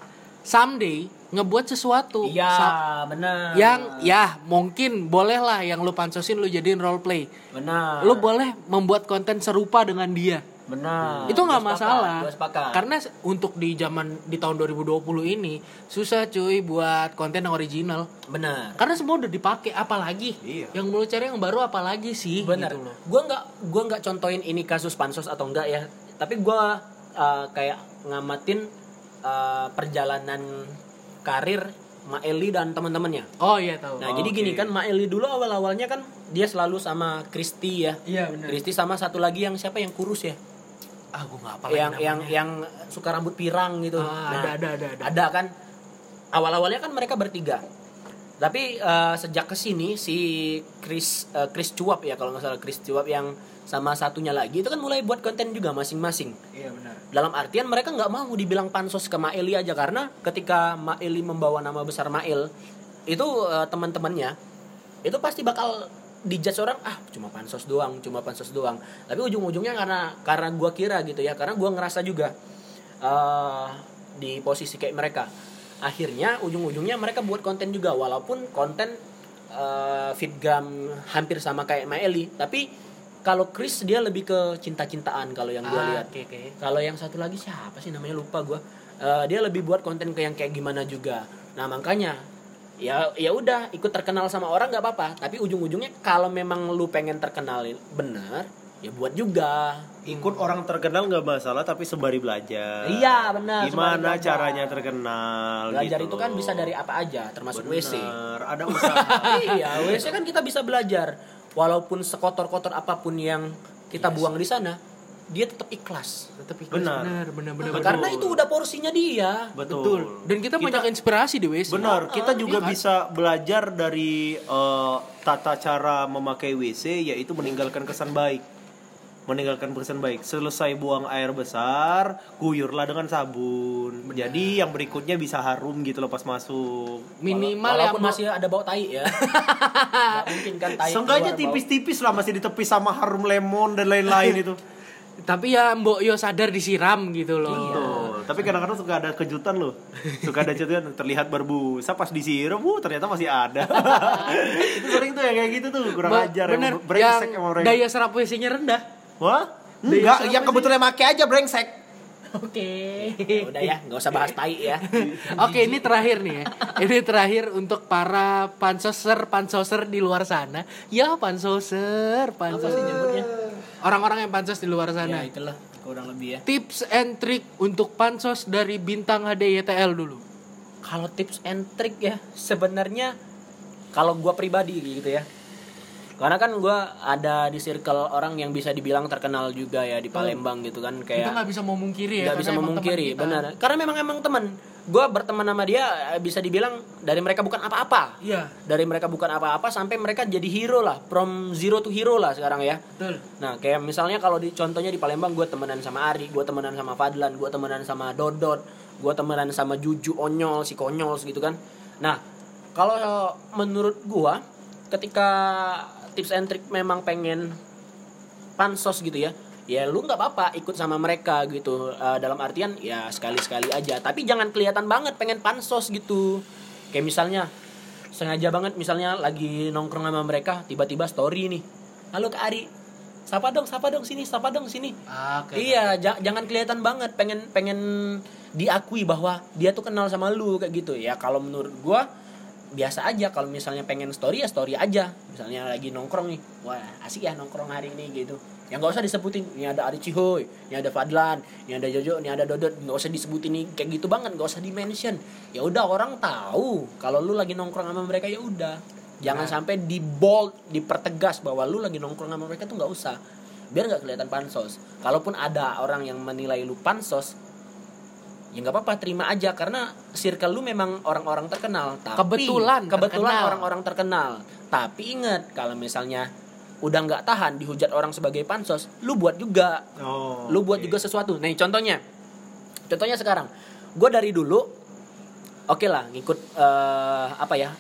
Speaker 1: someday ngebuat sesuatu.
Speaker 3: iya
Speaker 1: Sa-
Speaker 3: benar
Speaker 1: yang ya mungkin bolehlah yang lu pansusin lu jadiin role play.
Speaker 3: benar
Speaker 1: Lu boleh membuat konten serupa dengan dia.
Speaker 3: benar
Speaker 1: itu nggak
Speaker 3: Ah, Gua sepakat,
Speaker 1: masalah.
Speaker 3: gua sepakat.
Speaker 1: Karena se- untuk di zaman di tahun 2020 ini susah cuy buat konten yang original.
Speaker 3: benar
Speaker 1: Karena semua udah dipakai apalagi.
Speaker 2: Iya.
Speaker 1: Yang mau lu cari yang baru apalagi sih
Speaker 3: benar
Speaker 1: gitu loh.
Speaker 3: gue nggak gua nggak contohin ini kasus pansos atau enggak ya tapi gue kayak ngamatin uh, perjalanan karir Maeli dan teman-temannya
Speaker 1: Oh iya tahu.
Speaker 3: nah jadi gini kan Maeli dulu awal awalnya kan dia selalu sama Kristi ya
Speaker 1: Iya benar.
Speaker 3: Kristi sama satu lagi yang siapa yang kurus ya
Speaker 1: Ah gua enggak apa
Speaker 3: yang yang yang suka rambut pirang gitu
Speaker 1: Ah,
Speaker 3: Nah,
Speaker 1: ada, ada, ada, ada.
Speaker 3: kan awal awalnya kan mereka bertiga tapi eh, sejak kesini si Chris eh, Chris Cuap ya kalau nggak salah Chris Cuap yang sama satunya lagi itu kan mulai buat konten juga masing-masing
Speaker 1: Iya benar.
Speaker 3: dalam artian mereka nggak mau dibilang pansos ke Maeli aja karena ketika Maeli membawa nama besar Mael itu eh, teman-temannya itu pasti bakal dijudge orang ah cuma pansos doang cuma pansos doang tapi ujung-ujungnya karena karena gua kira gitu ya karena gua ngerasa juga eh di posisi kayak mereka akhirnya ujung-ujungnya mereka buat konten juga walaupun konten eh, fitgram hampir sama kayak Maeli tapi kalau Chris dia lebih ke cinta-cintaan kalau yang gua
Speaker 1: Ah,
Speaker 3: lihat
Speaker 1: oke, oke.
Speaker 3: kalau yang satu lagi siapa sih namanya lupa gue. dia lebih buat konten ke yang kayak gimana juga. Nah makanya ya ya udah ikut terkenal sama orang nggak apa-apa. Tapi ujung-ujungnya kalau memang lu pengen terkenal bener ya buat juga.
Speaker 2: ikut orang terkenal nggak masalah tapi sembari belajar.
Speaker 3: Iya, benar, sembari
Speaker 2: Gimana
Speaker 3: belajar.
Speaker 2: caranya terkenal?
Speaker 3: Belajar
Speaker 2: gitu
Speaker 3: itu kan
Speaker 2: loh.
Speaker 3: bisa dari apa aja termasuk WC.
Speaker 2: Benar, ada usaha.
Speaker 3: [laughs] iya WC kan kita bisa belajar walaupun sekotor-kotor apapun yang kita buang di sana dia tetap ikhlas.
Speaker 1: Tetap ikhlas,
Speaker 2: Benar.
Speaker 1: benar benar benar. benar.
Speaker 3: Karena itu udah porsinya dia.
Speaker 2: Betul.
Speaker 1: Betul. Dan kita, banyak inspirasi di Ah, WC.
Speaker 2: Benar, kita
Speaker 1: eh,
Speaker 2: juga
Speaker 1: iya.
Speaker 2: bisa belajar dari eh, tata cara memakai WC yaitu meninggalkan kesan baik. Meninggalkan kesan baik. Selesai buang air besar, guyurlah dengan sabun. Jadi yang berikutnya bisa harum gitu loh pas masuk.
Speaker 1: Minimal yang
Speaker 3: Walaupun masih ada bau tai [laughs] ya. Nggak mungkin kan tai.
Speaker 2: Seenggaknya
Speaker 3: keluar bau.
Speaker 2: tipis-tipis lah masih ditepis sama harum lemon dan lain-lain
Speaker 1: [laughs]
Speaker 2: itu.
Speaker 1: tapi ya Mbok Yo sadar disiram gitu loh.
Speaker 2: Tuh, tapi kadang-kadang suka ada kejutan loh. Suka ada kejutan terlihat berbusa pas disiram, wuh ternyata masih ada. [laughs] itu sering tuh yang kayak gitu tuh kurang
Speaker 1: Ba-
Speaker 2: ajar
Speaker 1: bener,
Speaker 2: emang brengsek
Speaker 1: yang
Speaker 2: emang brengsek.
Speaker 1: daya serap WC-nya rendah.
Speaker 2: Wah? Enggak, yang kebetulan make aja brengsek.
Speaker 3: Ya Udah ya, nggak usah bahas tai [laughs] ya.
Speaker 1: Oke, ini terakhir nih ya. Ini terakhir untuk para pansoser, pansoser di luar sana. Ya, pansoser, pansos
Speaker 3: nyebutnya? Eh.
Speaker 1: Orang-orang yang pansos di luar
Speaker 3: ya
Speaker 1: sana.
Speaker 3: itulah kurang lebih ya.
Speaker 1: Tips and trick untuk pansos dari bintang HDYTL dulu.
Speaker 3: Kalau tips and trick ya sebenarnya kalau gua pribadi gitu ya. Karena kan gua ada di circle orang yang bisa dibilang terkenal juga ya di iya, Palembang gitu kan
Speaker 1: Kita
Speaker 3: kayak
Speaker 1: nggak bisa memungkiri ya.
Speaker 3: nggak
Speaker 1: karena
Speaker 3: bisa
Speaker 1: emang
Speaker 3: memungkiri
Speaker 1: teman kita.
Speaker 3: benar karena memang emang teman gue berteman sama dia eh, bisa dibilang dari mereka bukan apa-apa
Speaker 1: Iya,
Speaker 3: dari mereka bukan apa-apa sampai mereka jadi hero lah from zero to hero lah sekarang ya
Speaker 1: betul.
Speaker 3: Nah, kayak misalnya kalau di contohnya di Palembang gue temenan sama Ari, gue temenan sama Fadlan, gue temenan sama Dodot, gue temenan sama Juju Onyol, si Konyol gitu kan. Nah, kalau menurut gua ketika tips and trick memang pengen pansos gitu ya, ya lu nggak apa-apa ikut sama mereka gitu Eh, dalam artian ya sekali-sekali aja tapi jangan kelihatan banget pengen pansos gitu kayak misalnya sengaja banget misalnya lagi nongkrong sama mereka tiba-tiba story nih halo Kak Ari sapa dong sapa dong sini sapa dong sini
Speaker 1: Ah, oke.
Speaker 3: iya ja- jangan kelihatan banget pengen pengen diakui bahwa dia tuh kenal sama lu kayak gitu ya kalau menurut gua biasa aja kalau misalnya pengen story ya story aja misalnya lagi nongkrong nih wah asik ya nongkrong hari ini gitu yang nggak usah disebutin ini ada Ari Cihoy ini ada Fadlan ini ada Jojo ini ada Dodot nggak usah disebutin nih kayak gitu banget nggak usah di mention ya udah orang tahu kalau lu lagi nongkrong sama mereka ya udah jangan
Speaker 1: Nah.
Speaker 3: sampai di bold dipertegas bahwa lu lagi nongkrong sama mereka tuh nggak usah biar nggak kelihatan pansos kalaupun ada orang yang menilai lu pansos ya nggak apa-apa terima aja karena circle lu memang orang-orang terkenal tapi
Speaker 1: Kebetulan
Speaker 3: kebetulan
Speaker 1: terkenal.
Speaker 3: orang-orang terkenal tapi ingat kalau misalnya udah nggak tahan dihujat orang sebagai pansos lu buat juga
Speaker 2: Oh,
Speaker 3: lu buat
Speaker 2: oke.
Speaker 3: juga sesuatu nih contohnya contohnya sekarang gue dari dulu oke lah ngikut eh, apa ya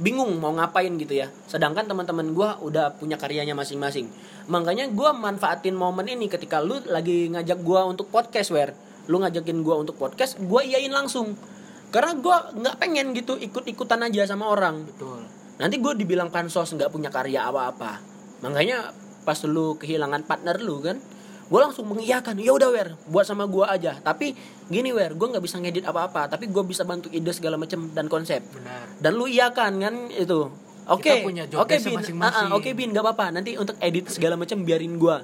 Speaker 3: bingung mau ngapain gitu ya sedangkan teman-teman gue udah punya karyanya masing-masing makanya gue manfaatin momen ini ketika lu lagi ngajak gue untuk podcast where lu ngajakin gue untuk podcast gue iyain langsung karena gue nggak pengen gitu ikut-ikutan aja sama orang
Speaker 1: Betul.
Speaker 3: nanti gue dibilang pansos nggak punya karya apa-apa makanya pas lu kehilangan partner lu kan gue langsung mengiyakan ya udah wer buat sama gue aja tapi gini wer gue nggak bisa ngedit apa-apa tapi gue bisa bantu ide segala macam dan konsep
Speaker 1: Benar.
Speaker 3: dan lu iyakan kan itu oke
Speaker 1: Kita punya job
Speaker 3: oke
Speaker 1: desk
Speaker 3: bin
Speaker 1: masing-masing.
Speaker 3: Ah, ah, oke bin gak apa-apa nanti untuk edit segala macam biarin gue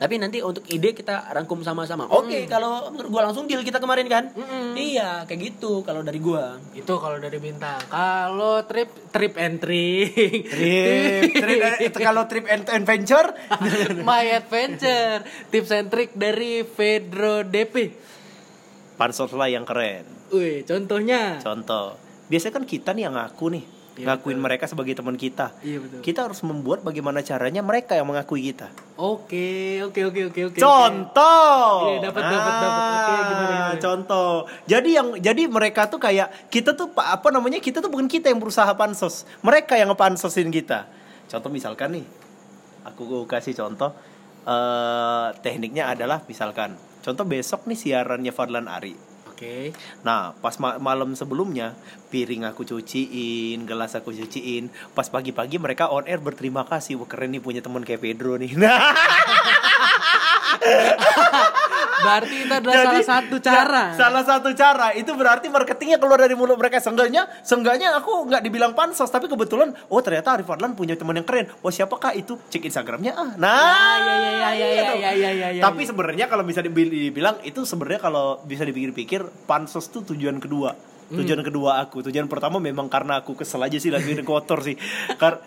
Speaker 3: tapi nanti untuk ide kita rangkum sama-sama oke kalau menurut gue langsung deal kita kemarin kan iya kayak gitu kalau dari gue
Speaker 1: Itu kalau dari bintang. Kalau trip trip entry. iya,
Speaker 2: Trip, trip,
Speaker 1: [laughs]
Speaker 2: eh, kalau trip and adventure,
Speaker 1: My adventure. Tips and trick dari Pedro DP.
Speaker 2: pansos lah yang keren.
Speaker 1: Wih, contohnya.
Speaker 2: Contoh, biasanya kan kita nih yang ngaku nih, ngakuin mereka sebagai teman kita.
Speaker 1: Iya, betul.
Speaker 2: Kita harus membuat bagaimana caranya mereka yang mengakui kita.
Speaker 1: Oke, oke, oke, oke, oke.
Speaker 2: contoh. Ah,
Speaker 1: Iya, dapat, dapat, dapat. Oke, gimana, gimana?
Speaker 2: Contoh. Jadi yang jadi mereka tuh kayak kita tuh pa- apa namanya? Kita tuh bukan kita yang berusaha pansos. Mereka yang ngepansosin kita. Contoh misalkan nih. Aku kasih contoh eh tekniknya adalah misalkan contoh besok nih siarannya Fadlan Ari.
Speaker 1: Oke.
Speaker 2: Nah, pas ma- malam sebelumnya piring aku cuciin, gelas aku cuciin. Pas pagi-pagi mereka on air berterima kasih, wah keren nih punya teman kayak Pedro nih. [laughs] Nah,
Speaker 1: Berarti itu adalah salah satu cara.
Speaker 2: ya, salah satu cara itu berarti marketingnya keluar dari mulut mereka. Seenggaknya, seenggaknya aku nggak dibilang pansos, tapi kebetulan, oh ternyata Arif Fadlan punya teman yang keren. Oh siapakah itu? Cek Instagramnya ah. Nah,
Speaker 1: Ya, ya, ya, ya,
Speaker 2: iya
Speaker 1: ya,
Speaker 2: dong.
Speaker 1: ya, ya, ya, ya,
Speaker 2: tapi sebenarnya kalau bisa dibil- dibilang itu sebenarnya kalau bisa dipikir-pikir pansos tuh tujuan kedua.
Speaker 1: Hmm.
Speaker 2: Tujuan kedua aku, tujuan pertama memang karena aku kesel aja sih lagi kotor sih. Kar-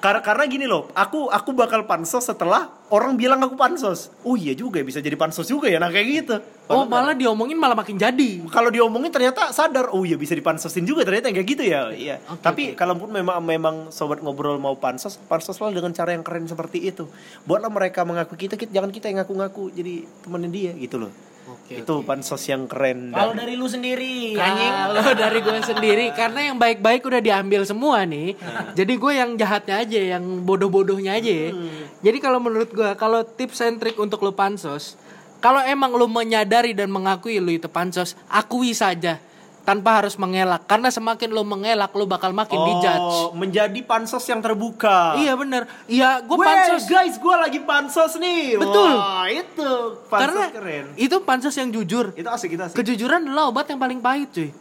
Speaker 2: kar- karena gini loh, aku aku bakal pansos setelah orang bilang aku pansos. Oh iya juga ya, bisa jadi pansos juga ya, nah kayak gitu.
Speaker 1: Oh, malah diomongin malah makin jadi.
Speaker 2: kalau diomongin ternyata sadar oh iya bisa dipansosin juga ternyata nggak gitu ya iya
Speaker 1: Oke,
Speaker 2: tapi kalaupun memang memang sobat ngobrol mau pansos pansoslah dengan cara yang keren seperti itu buatlah mereka mengaku kita, kita jangan kita yang ngaku-ngaku jadi temenin dia gitu loh
Speaker 1: Oke,
Speaker 2: itu pansos yang keren
Speaker 3: kalau
Speaker 2: dan-
Speaker 3: dari lu sendiri anjing
Speaker 1: Kalau [laughs] dari gue sendiri karena yang baik-baik udah diambil semua nih. Jadi gue yang jahatnya aja, yang bodoh-bodohnya aja. ya.
Speaker 2: Hmm.
Speaker 1: Jadi kalau menurut gue kalau tips and trick untuk lu pansos, kalau emang lu menyadari dan mengakui lu itu pansos, akui saja tanpa harus mengelak karena semakin lu mengelak lu bakal makin
Speaker 2: oh,
Speaker 1: dijudge.
Speaker 2: menjadi pansos yang terbuka
Speaker 1: Iya bener Iya gue
Speaker 2: Weh,
Speaker 1: pansos
Speaker 2: guys gue lagi pansos nih
Speaker 1: Betul.
Speaker 2: Wah, itu pansos
Speaker 1: karena
Speaker 2: keren
Speaker 1: itu pansos yang jujur.
Speaker 2: itu asik kita asik
Speaker 1: Kejujuran adalah obat yang paling pahit cuy.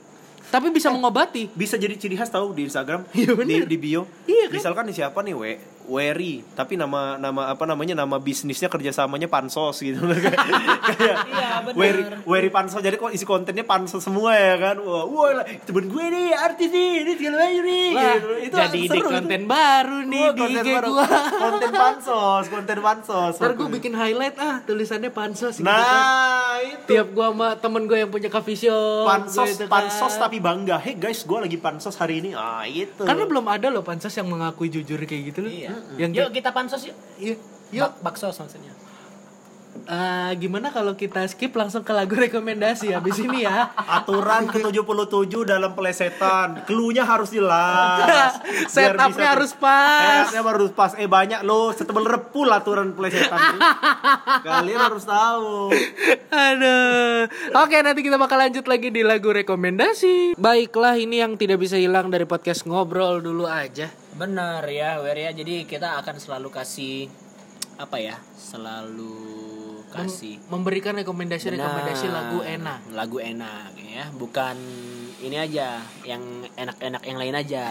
Speaker 1: Tapi
Speaker 2: Eh.
Speaker 1: bisa mengobati.
Speaker 2: bisa jadi ciri khas tahu di Instagram
Speaker 1: Iya,
Speaker 2: di,
Speaker 1: bener.
Speaker 2: di bio
Speaker 1: Iya, kan?
Speaker 2: misalkan nih siapa nih we Wery tapi nama nama apa namanya nama bisnisnya kerjasamanya pansos gitu [laughs] kayak
Speaker 1: Iya,
Speaker 3: bener.
Speaker 2: Wery Wery pansos jadi kok isi kontennya pansos semua ya kan wah wah lah, temen gue nih artis nih ini segala macam nih
Speaker 1: Wah,
Speaker 2: Gitu.
Speaker 1: jadi ide
Speaker 2: seru,
Speaker 1: konten baru
Speaker 2: Wah,
Speaker 1: nih di
Speaker 2: konten
Speaker 1: IG
Speaker 2: baru.
Speaker 1: gua.
Speaker 2: konten pansos konten pansos
Speaker 1: [laughs] Ntar gua bikin highlight ah tulisannya pansos gitu kan.
Speaker 2: nah itu
Speaker 1: Tiap gua sama temen gua yang punya coffee shop
Speaker 2: pansos
Speaker 1: gitu kan.
Speaker 2: pansos tapi bangga hey guys gue lagi pansos hari ini ah itu
Speaker 1: Karena belum ada loh pansos yang mengakui jujur kayak gitu loh
Speaker 3: Iya.
Speaker 1: Yang
Speaker 3: yuk kita pansos yuk.
Speaker 1: yuk, yuk.
Speaker 3: Yuk. baksos maksudnya.
Speaker 1: Eh, Gimana kalau kita skip langsung ke lagu rekomendasi [laughs] habis ini ya
Speaker 2: Aturan ke-77 dalam pelesetan. Cluenya harus
Speaker 1: [laughs]
Speaker 2: jelas. Biar
Speaker 1: Setupnya
Speaker 2: bisa- Eh,
Speaker 1: harus pas.
Speaker 2: Setupnya harus pas. Eh banyak lo setebel repul aturan pelesetan.
Speaker 1: [laughs]
Speaker 2: ini. Kalian harus tahu.
Speaker 1: Aduh. Oke, nanti kita bakal lanjut lagi di lagu rekomendasi. Baiklah, ini yang tidak bisa hilang dari podcast ngobrol dulu aja.
Speaker 3: Benar ya, Wer ya. Jadi kita akan selalu kasih apa ya selalu kasih
Speaker 1: memberikan rekomendasi-rekomendasi
Speaker 3: Benar.
Speaker 1: lagu enak.
Speaker 3: lagu enak ya bukan ini aja yang enak-enak yang lain [laughs] aja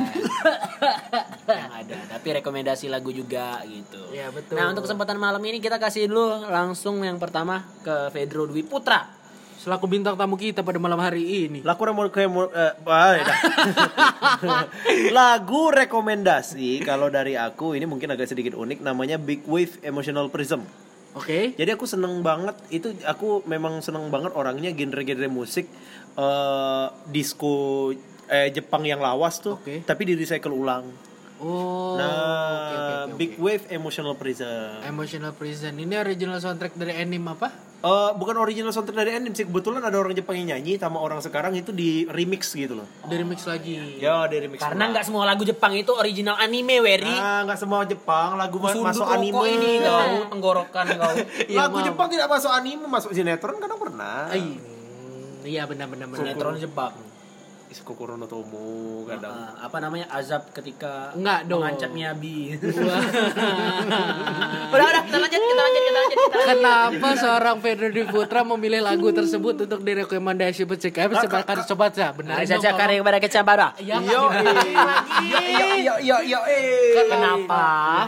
Speaker 3: yang ada tapi rekomendasi lagu juga gitu
Speaker 1: Iya, betul.
Speaker 3: nah untuk kesempatan malam ini kita kasih dulu langsung yang pertama ke Pedro Dwi Putra
Speaker 1: Selaku bintang tamu kita pada malam hari ini.
Speaker 2: Laku remo- remo- eh,
Speaker 1: [laughs]
Speaker 2: ah, ya. lagu rekomendasi kalau dari aku ini mungkin agak sedikit unik namanya Big Wave Emotional Prism.
Speaker 1: Oke.
Speaker 2: Jadi aku seneng banget itu aku memang seneng banget orangnya genre-genre musik eh disco eh, Jepang yang lawas tuh
Speaker 1: Oke.
Speaker 2: tapi di recycle ulang.
Speaker 1: Oh.
Speaker 2: nah,
Speaker 1: oke, oke, oke,
Speaker 2: Big
Speaker 1: oke.
Speaker 2: Wave Emotional Prism.
Speaker 1: Emotional Prison. Ini original soundtrack dari anime apa?
Speaker 2: Eh, bukan original soundtrack dari anime sih kebetulan ada orang Jepang yang nyanyi sama orang sekarang itu di remix gitu loh.
Speaker 1: Dari mix
Speaker 3: Oh,
Speaker 1: lagi.
Speaker 2: Ya, di remix.
Speaker 3: karena nggak semua lagu Jepang itu original anime Wery
Speaker 2: Ah, nggak semua Jepang lagu ma-
Speaker 3: Sundut
Speaker 2: masuk
Speaker 3: rokok
Speaker 2: anime.
Speaker 3: ini Iya, kau tenggorokan kau
Speaker 2: [laughs] lagu Jepang tidak masuk anime, masuk sinetron kadang pernah.
Speaker 3: iya.
Speaker 1: Ai. Hmm, Iya benar-benar benar.
Speaker 3: [laughs] sinetron Jepang
Speaker 2: Isukuro no Tomo kadang.
Speaker 3: Eh, apa namanya azab ketika
Speaker 1: Enggak dong.
Speaker 3: mengancam Miyabi
Speaker 1: Wah.
Speaker 3: [laughs] udah udah kita lanjut kita lanjut kita lanjut kita lanjut.
Speaker 1: Kenapa seorang Pedro Di Putra memilih lagu tersebut untuk direkomendasi pencegah sebakan sobat ya? Benar.
Speaker 3: Mari
Speaker 1: dong,
Speaker 3: saja
Speaker 1: kalau-
Speaker 3: karya kepada kecambara.
Speaker 1: Iya, Kak.
Speaker 2: Yo, yo, yo, yo,
Speaker 1: ya.
Speaker 2: eh.
Speaker 3: Kenapa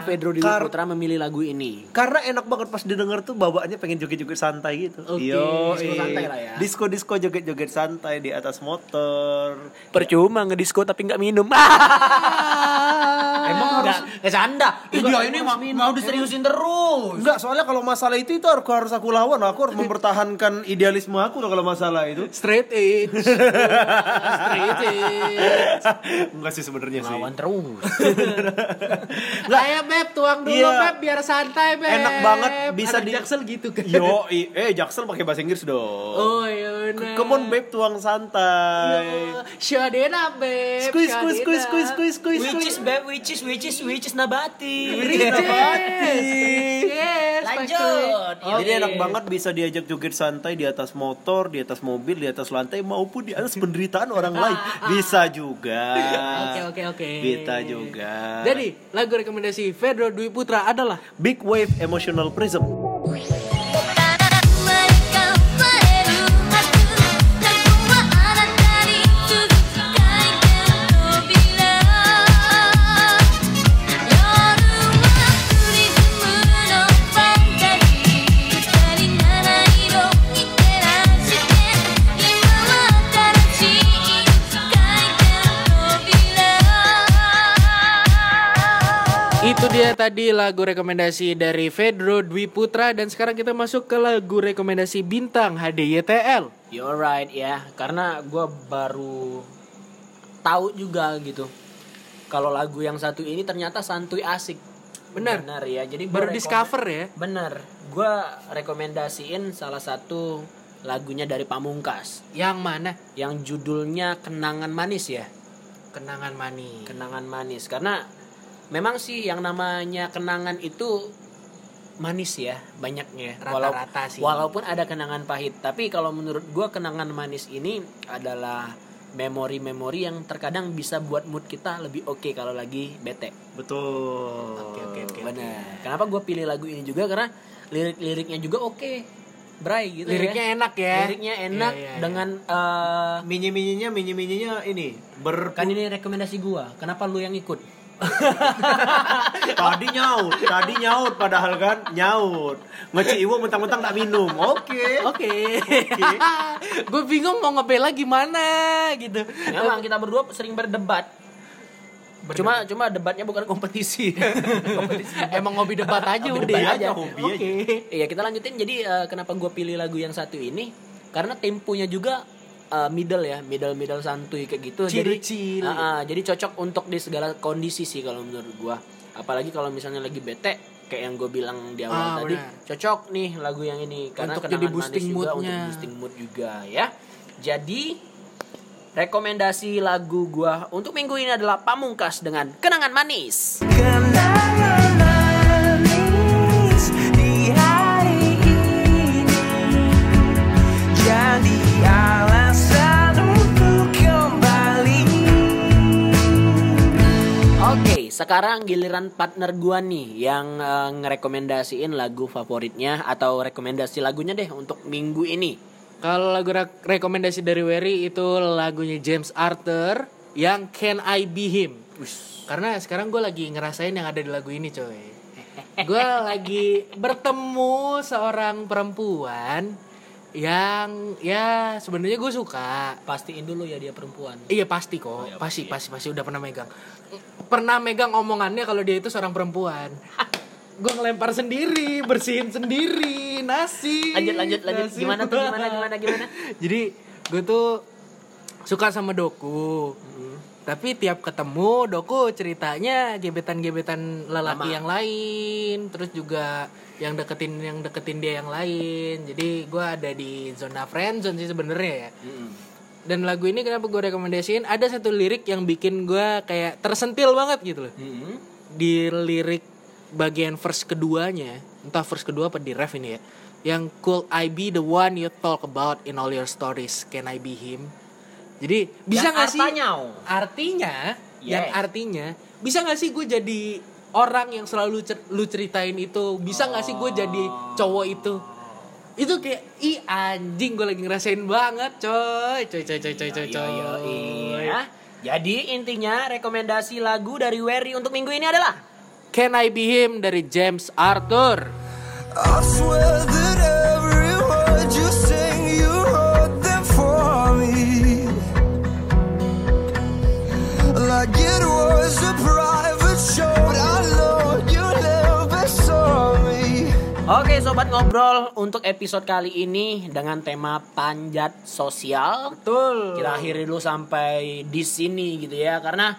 Speaker 3: Pedro Dewi
Speaker 2: Kar-
Speaker 3: Putra memilih lagu ini?
Speaker 2: Karena enak banget pas didengar tuh bawaannya pengen joget-joget santai gitu.
Speaker 1: Oke,
Speaker 3: disco santai lah ya.
Speaker 2: Disco-disco joget-joget santai di atas motor.
Speaker 3: Percuma ngedisko tapi nggak minum.
Speaker 1: Ah.
Speaker 3: Emang harus Eh, bercanda. Ih, dia Iya, ini mau, mau diseriusin terus.
Speaker 2: Oh, Enggak, soalnya kalau masalah itu itu harus harus aku lawan, aku harus mempertahankan idealisme aku loh kalau masalah itu.
Speaker 1: Straight edge. Straight edge.
Speaker 2: [laughs] Enggak sih sebenarnya sih.
Speaker 3: Lawan terus.
Speaker 1: Ayo Beb, tuang dulu
Speaker 2: Iya.
Speaker 1: Beb biar santai Beb.
Speaker 2: Enak banget, bisa
Speaker 1: Anak
Speaker 2: di-
Speaker 1: jaksel gitu kan.
Speaker 2: Yo, i- eh Jaksel pakai bahasa Inggris dong.
Speaker 1: Oh iya benar.
Speaker 2: Come on babe tuang santai.
Speaker 1: Shadena Beb.
Speaker 2: Squeeze, squeeze, squeeze, squeeze, squeeze, squeeze.
Speaker 3: Which is beb, which is, which is, which is nabati.
Speaker 1: Yes.
Speaker 3: Lanjut.
Speaker 2: Iya, Jadi enak banget bisa diajak joget santai di atas motor, di atas mobil, di atas lantai maupun di atas penderitaan orang lain. Bisa juga.
Speaker 1: Ah, Oke oke oke.
Speaker 2: Bisa juga.
Speaker 1: Jadi lagu rekomendasi Pedro Dwi Putra adalah
Speaker 2: Big Wave Emotional Prism.
Speaker 5: 生まれ変われるはず「過去はあなたに続く回転の扉」「夜はプリズムのファンタジー」「足りない色に照らして」「今は新しい回転の扉」
Speaker 1: itu dia tadi lagu rekomendasi dari Pedro Dwi Putra dan sekarang kita masuk ke lagu rekomendasi bintang HDYTL.
Speaker 3: You're right ya, karena gue baru tahu juga gitu. Kalau lagu yang satu ini ternyata santuy asik.
Speaker 1: Benar.
Speaker 3: Benar ya. Jadi gua
Speaker 1: Baru
Speaker 3: rekom-
Speaker 1: discover ya.
Speaker 3: Benar. Gue rekomendasiin salah satu lagunya dari Pamungkas
Speaker 1: Yang mana?
Speaker 3: yang judulnya Kenangan Manis ya.
Speaker 1: Kenangan manis.
Speaker 3: Kenangan Manis karena memang sih yang namanya kenangan itu manis ya banyaknya
Speaker 1: Rata-rata sih.
Speaker 3: walaupun ada kenangan pahit tapi kalau menurut gua kenangan manis ini adalah memori-memori yang terkadang bisa buat mood kita lebih oke kalau lagi bete
Speaker 2: Betul.
Speaker 3: benar kenapa gua pilih lagu ini juga karena lirik-liriknya juga oke Bray gitu
Speaker 1: Liriknya
Speaker 3: ya.
Speaker 1: enak ya.
Speaker 3: liriknya enak
Speaker 1: Iya, iya, iya.
Speaker 3: dengan eh,
Speaker 2: Mini-mininya, mini-mininya ini ber
Speaker 3: kan ini rekomendasi gua kenapa lu yang ikut
Speaker 2: tadi nyaut, tadi nyaut padahal kan nyaut. Ngeci Iwo mentang-mentang tak minum. Oke.
Speaker 1: Oke. Gue Ah, bingung mau ngebela gimana
Speaker 2: [laughs]
Speaker 1: gitu.
Speaker 3: Memang kita berdua sering berdebat. Cuma cuma debatnya bukan [laughs] kompetisi.
Speaker 1: Emang hobi debat aja udah.
Speaker 2: Hobi aja, hobi aja.
Speaker 1: Oke.
Speaker 3: Iya, kita lanjutin. Jadi eh, kenapa gue pilih lagu yang satu ini? Karena temponya juga eh, middle ya, middle middle santuy kayak gitu.
Speaker 1: Ciri-ciri.
Speaker 3: Jadi Ah, ah, jadi cocok untuk di segala kondisi sih kalau menurut gue. Apalagi kalau misalnya lagi bete kayak yang gue bilang di awal
Speaker 1: Ah,
Speaker 3: tadi,
Speaker 1: benar.
Speaker 3: cocok nih lagu yang ini karena
Speaker 1: Untuk
Speaker 3: kenangan
Speaker 1: jadi boosting
Speaker 3: manis juga,
Speaker 1: moodnya.
Speaker 3: untuk boosting mood juga ya. Jadi rekomendasi lagu gua untuk minggu ini adalah Pamungkas dengan Kenangan Manis.
Speaker 6: Jadi alasan untuk kembali
Speaker 3: Oke, sekarang giliran partner gua nih yang eh, ngerekomendasiin lagu favoritnya atau rekomendasi lagunya deh untuk minggu ini.
Speaker 1: Kalau lagu re- rekomendasi dari Wery itu lagunya James Arthur yang Can I Be Him. Karena sekarang gue lagi ngerasain yang ada di lagu ini coy. Gue lagi bertemu seorang perempuan yang ya sebenarnya gue suka.
Speaker 3: Pastiin dulu ya dia perempuan.
Speaker 1: Iya pasti kok, pasti ya. pasti pasti udah pernah megang. Pernah megang omongannya kalau dia itu seorang [laughs] perempuan. gue ngelempar sendiri, bersihin sendiri, nasi.
Speaker 3: Lanjut lanjut lanjut
Speaker 1: Nasi
Speaker 3: gimana tuh
Speaker 1: gua.
Speaker 3: gimana gimana gimana?
Speaker 1: [laughs] Jadi gue tuh suka sama Doku. Tapi tiap ketemu Doku ceritanya gebetan-gebetan lelaki yang lain, terus juga yang deketin yang deketin dia yang lain. Jadi gue ada di zona friend zone sih sebenarnya ya. Dan lagu ini kenapa gue rekomendasiin? Ada satu lirik yang bikin gue kayak tersentil banget gitu loh. Di lirik bagian verse keduanya, entah verse kedua apa di ref ini ya. Yang could I be the one you talk about in all your stories? Can I be him? Jadi bisa
Speaker 3: Yang
Speaker 1: nggak sih?
Speaker 3: artanya, oh.
Speaker 1: Artinya, yang
Speaker 3: Yes.
Speaker 1: artinya bisa nggak sih gue jadi orang yang selalu cer- lu ceritain itu? Bisa nggak sih gue jadi
Speaker 3: Oh.
Speaker 1: cowok itu? Itu kayak i anjing gue lagi ngerasain banget, coy, coy, coy, coy, coy, coy, coy.
Speaker 3: Iya. Jadi intinya rekomendasi lagu dari Wery untuk minggu ini adalah
Speaker 1: Can I be him dari James Arthur.
Speaker 6: I swear that every word you sing, you wrote them for me. Like it was a private show. I know you never saw me.
Speaker 3: Oke sobat ngobrol untuk episode kali ini dengan tema panjat sosial.
Speaker 1: Betul.
Speaker 3: Kita akhiri dulu sampai di sini gitu ya karena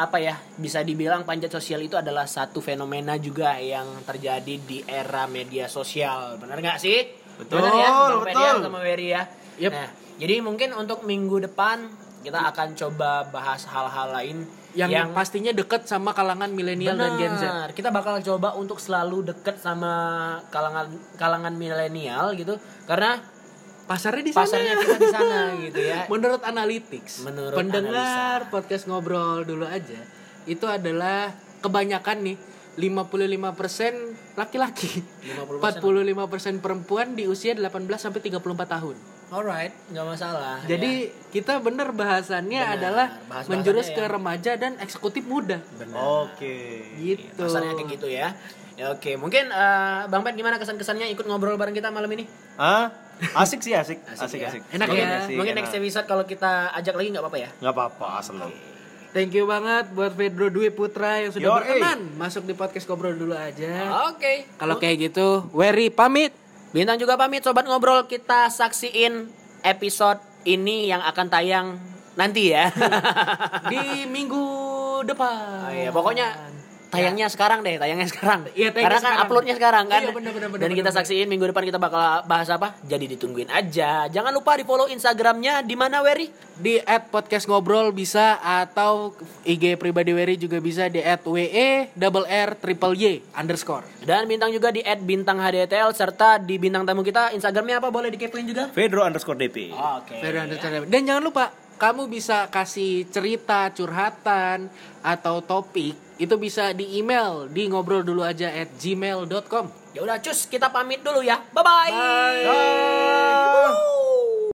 Speaker 3: apa ya bisa dibilang panjat sosial itu adalah satu fenomena juga yang terjadi di era media sosial. Benar nggak sih?
Speaker 2: Betul,
Speaker 3: Benar ya, Bang Ferdian
Speaker 2: betul.
Speaker 3: sama Wery ya.
Speaker 1: Yep.
Speaker 3: Nah, jadi mungkin untuk minggu depan kita akan coba bahas hal-hal lain
Speaker 1: Yang, pastinya deket sama kalangan milenial dan Gen Z.
Speaker 3: Benar. Kita bakal coba untuk selalu deket sama kalangan kalangan milenial gitu, karena
Speaker 1: Pasarnya di sana.
Speaker 3: pasarnya kita
Speaker 1: [laughs]
Speaker 3: di sana gitu ya.
Speaker 1: Menurut analytics,
Speaker 3: Menurut
Speaker 1: pendengar podcast ngobrol dulu aja, itu adalah kebanyakan nih 55% laki-laki, 45% perempuan di usia 18 sampai 34 tahun.
Speaker 3: Alright, nggak masalah. ya.
Speaker 1: Jadi kita bener bahasannya adalah
Speaker 3: Ah, iya. bahas-bahasannya
Speaker 1: menjurus
Speaker 3: ya.
Speaker 1: ke remaja dan eksekutif muda.
Speaker 2: Oke.
Speaker 1: Gitu.
Speaker 3: ya. pasarnya kayak gitu ya. Ya, Oke, mungkin eh, Bang Pen gimana kesan-kesannya ikut ngobrol bareng kita malam ini?
Speaker 2: Ah, asik sih asik, asik asik.
Speaker 3: ya.
Speaker 1: Enak
Speaker 3: mungkin,
Speaker 1: ya?
Speaker 3: Mungkin next episode kalau kita ajak lagi nggak apa-apa ya.
Speaker 2: Gak apa-apa, selalu.
Speaker 1: Thank you banget buat Pedro Dwi Putra yang sudah
Speaker 2: Yoi.
Speaker 1: berkenan masuk di podcast ngobrol dulu aja.
Speaker 3: Oke.
Speaker 1: Kalau kayak gitu, Wery pamit.
Speaker 3: Bintang juga pamit sobat ngobrol kita saksiin episode ini yang akan tayang nanti ya. [laughs]
Speaker 1: di minggu depan.
Speaker 3: Oh, iya, pokoknya tayangnya sekarang deh, tayangnya sekarang.
Speaker 1: Ya. Iya, tayangnya
Speaker 3: Karena kan
Speaker 1: sekarang.
Speaker 3: uploadnya sekarang kan.
Speaker 1: Iya, bener, bener, bener,
Speaker 3: Dan kita
Speaker 1: bener,
Speaker 3: saksiin minggu depan kita bakal bahas apa? Jadi ditungguin aja. Jangan lupa di follow Instagramnya di mana Wery?
Speaker 1: di at podcast ngobrol bisa atau IG pribadi Wery juga bisa di at WE double R triple Y underscore.
Speaker 3: Dan bintang juga di @bintanghdtl serta di bintang tamu kita Instagramnya apa? Boleh dikepoin juga?
Speaker 2: Pedro underscore DP.
Speaker 1: Ah.
Speaker 3: Oke.
Speaker 1: Wery underscore. Dan jangan lupa kamu bisa kasih cerita, curhatan atau topik itu bisa di email di ngobrol dulu aja at gmail.com.
Speaker 3: Ya udah cus, kita pamit dulu ya. Bye-bye. bye bye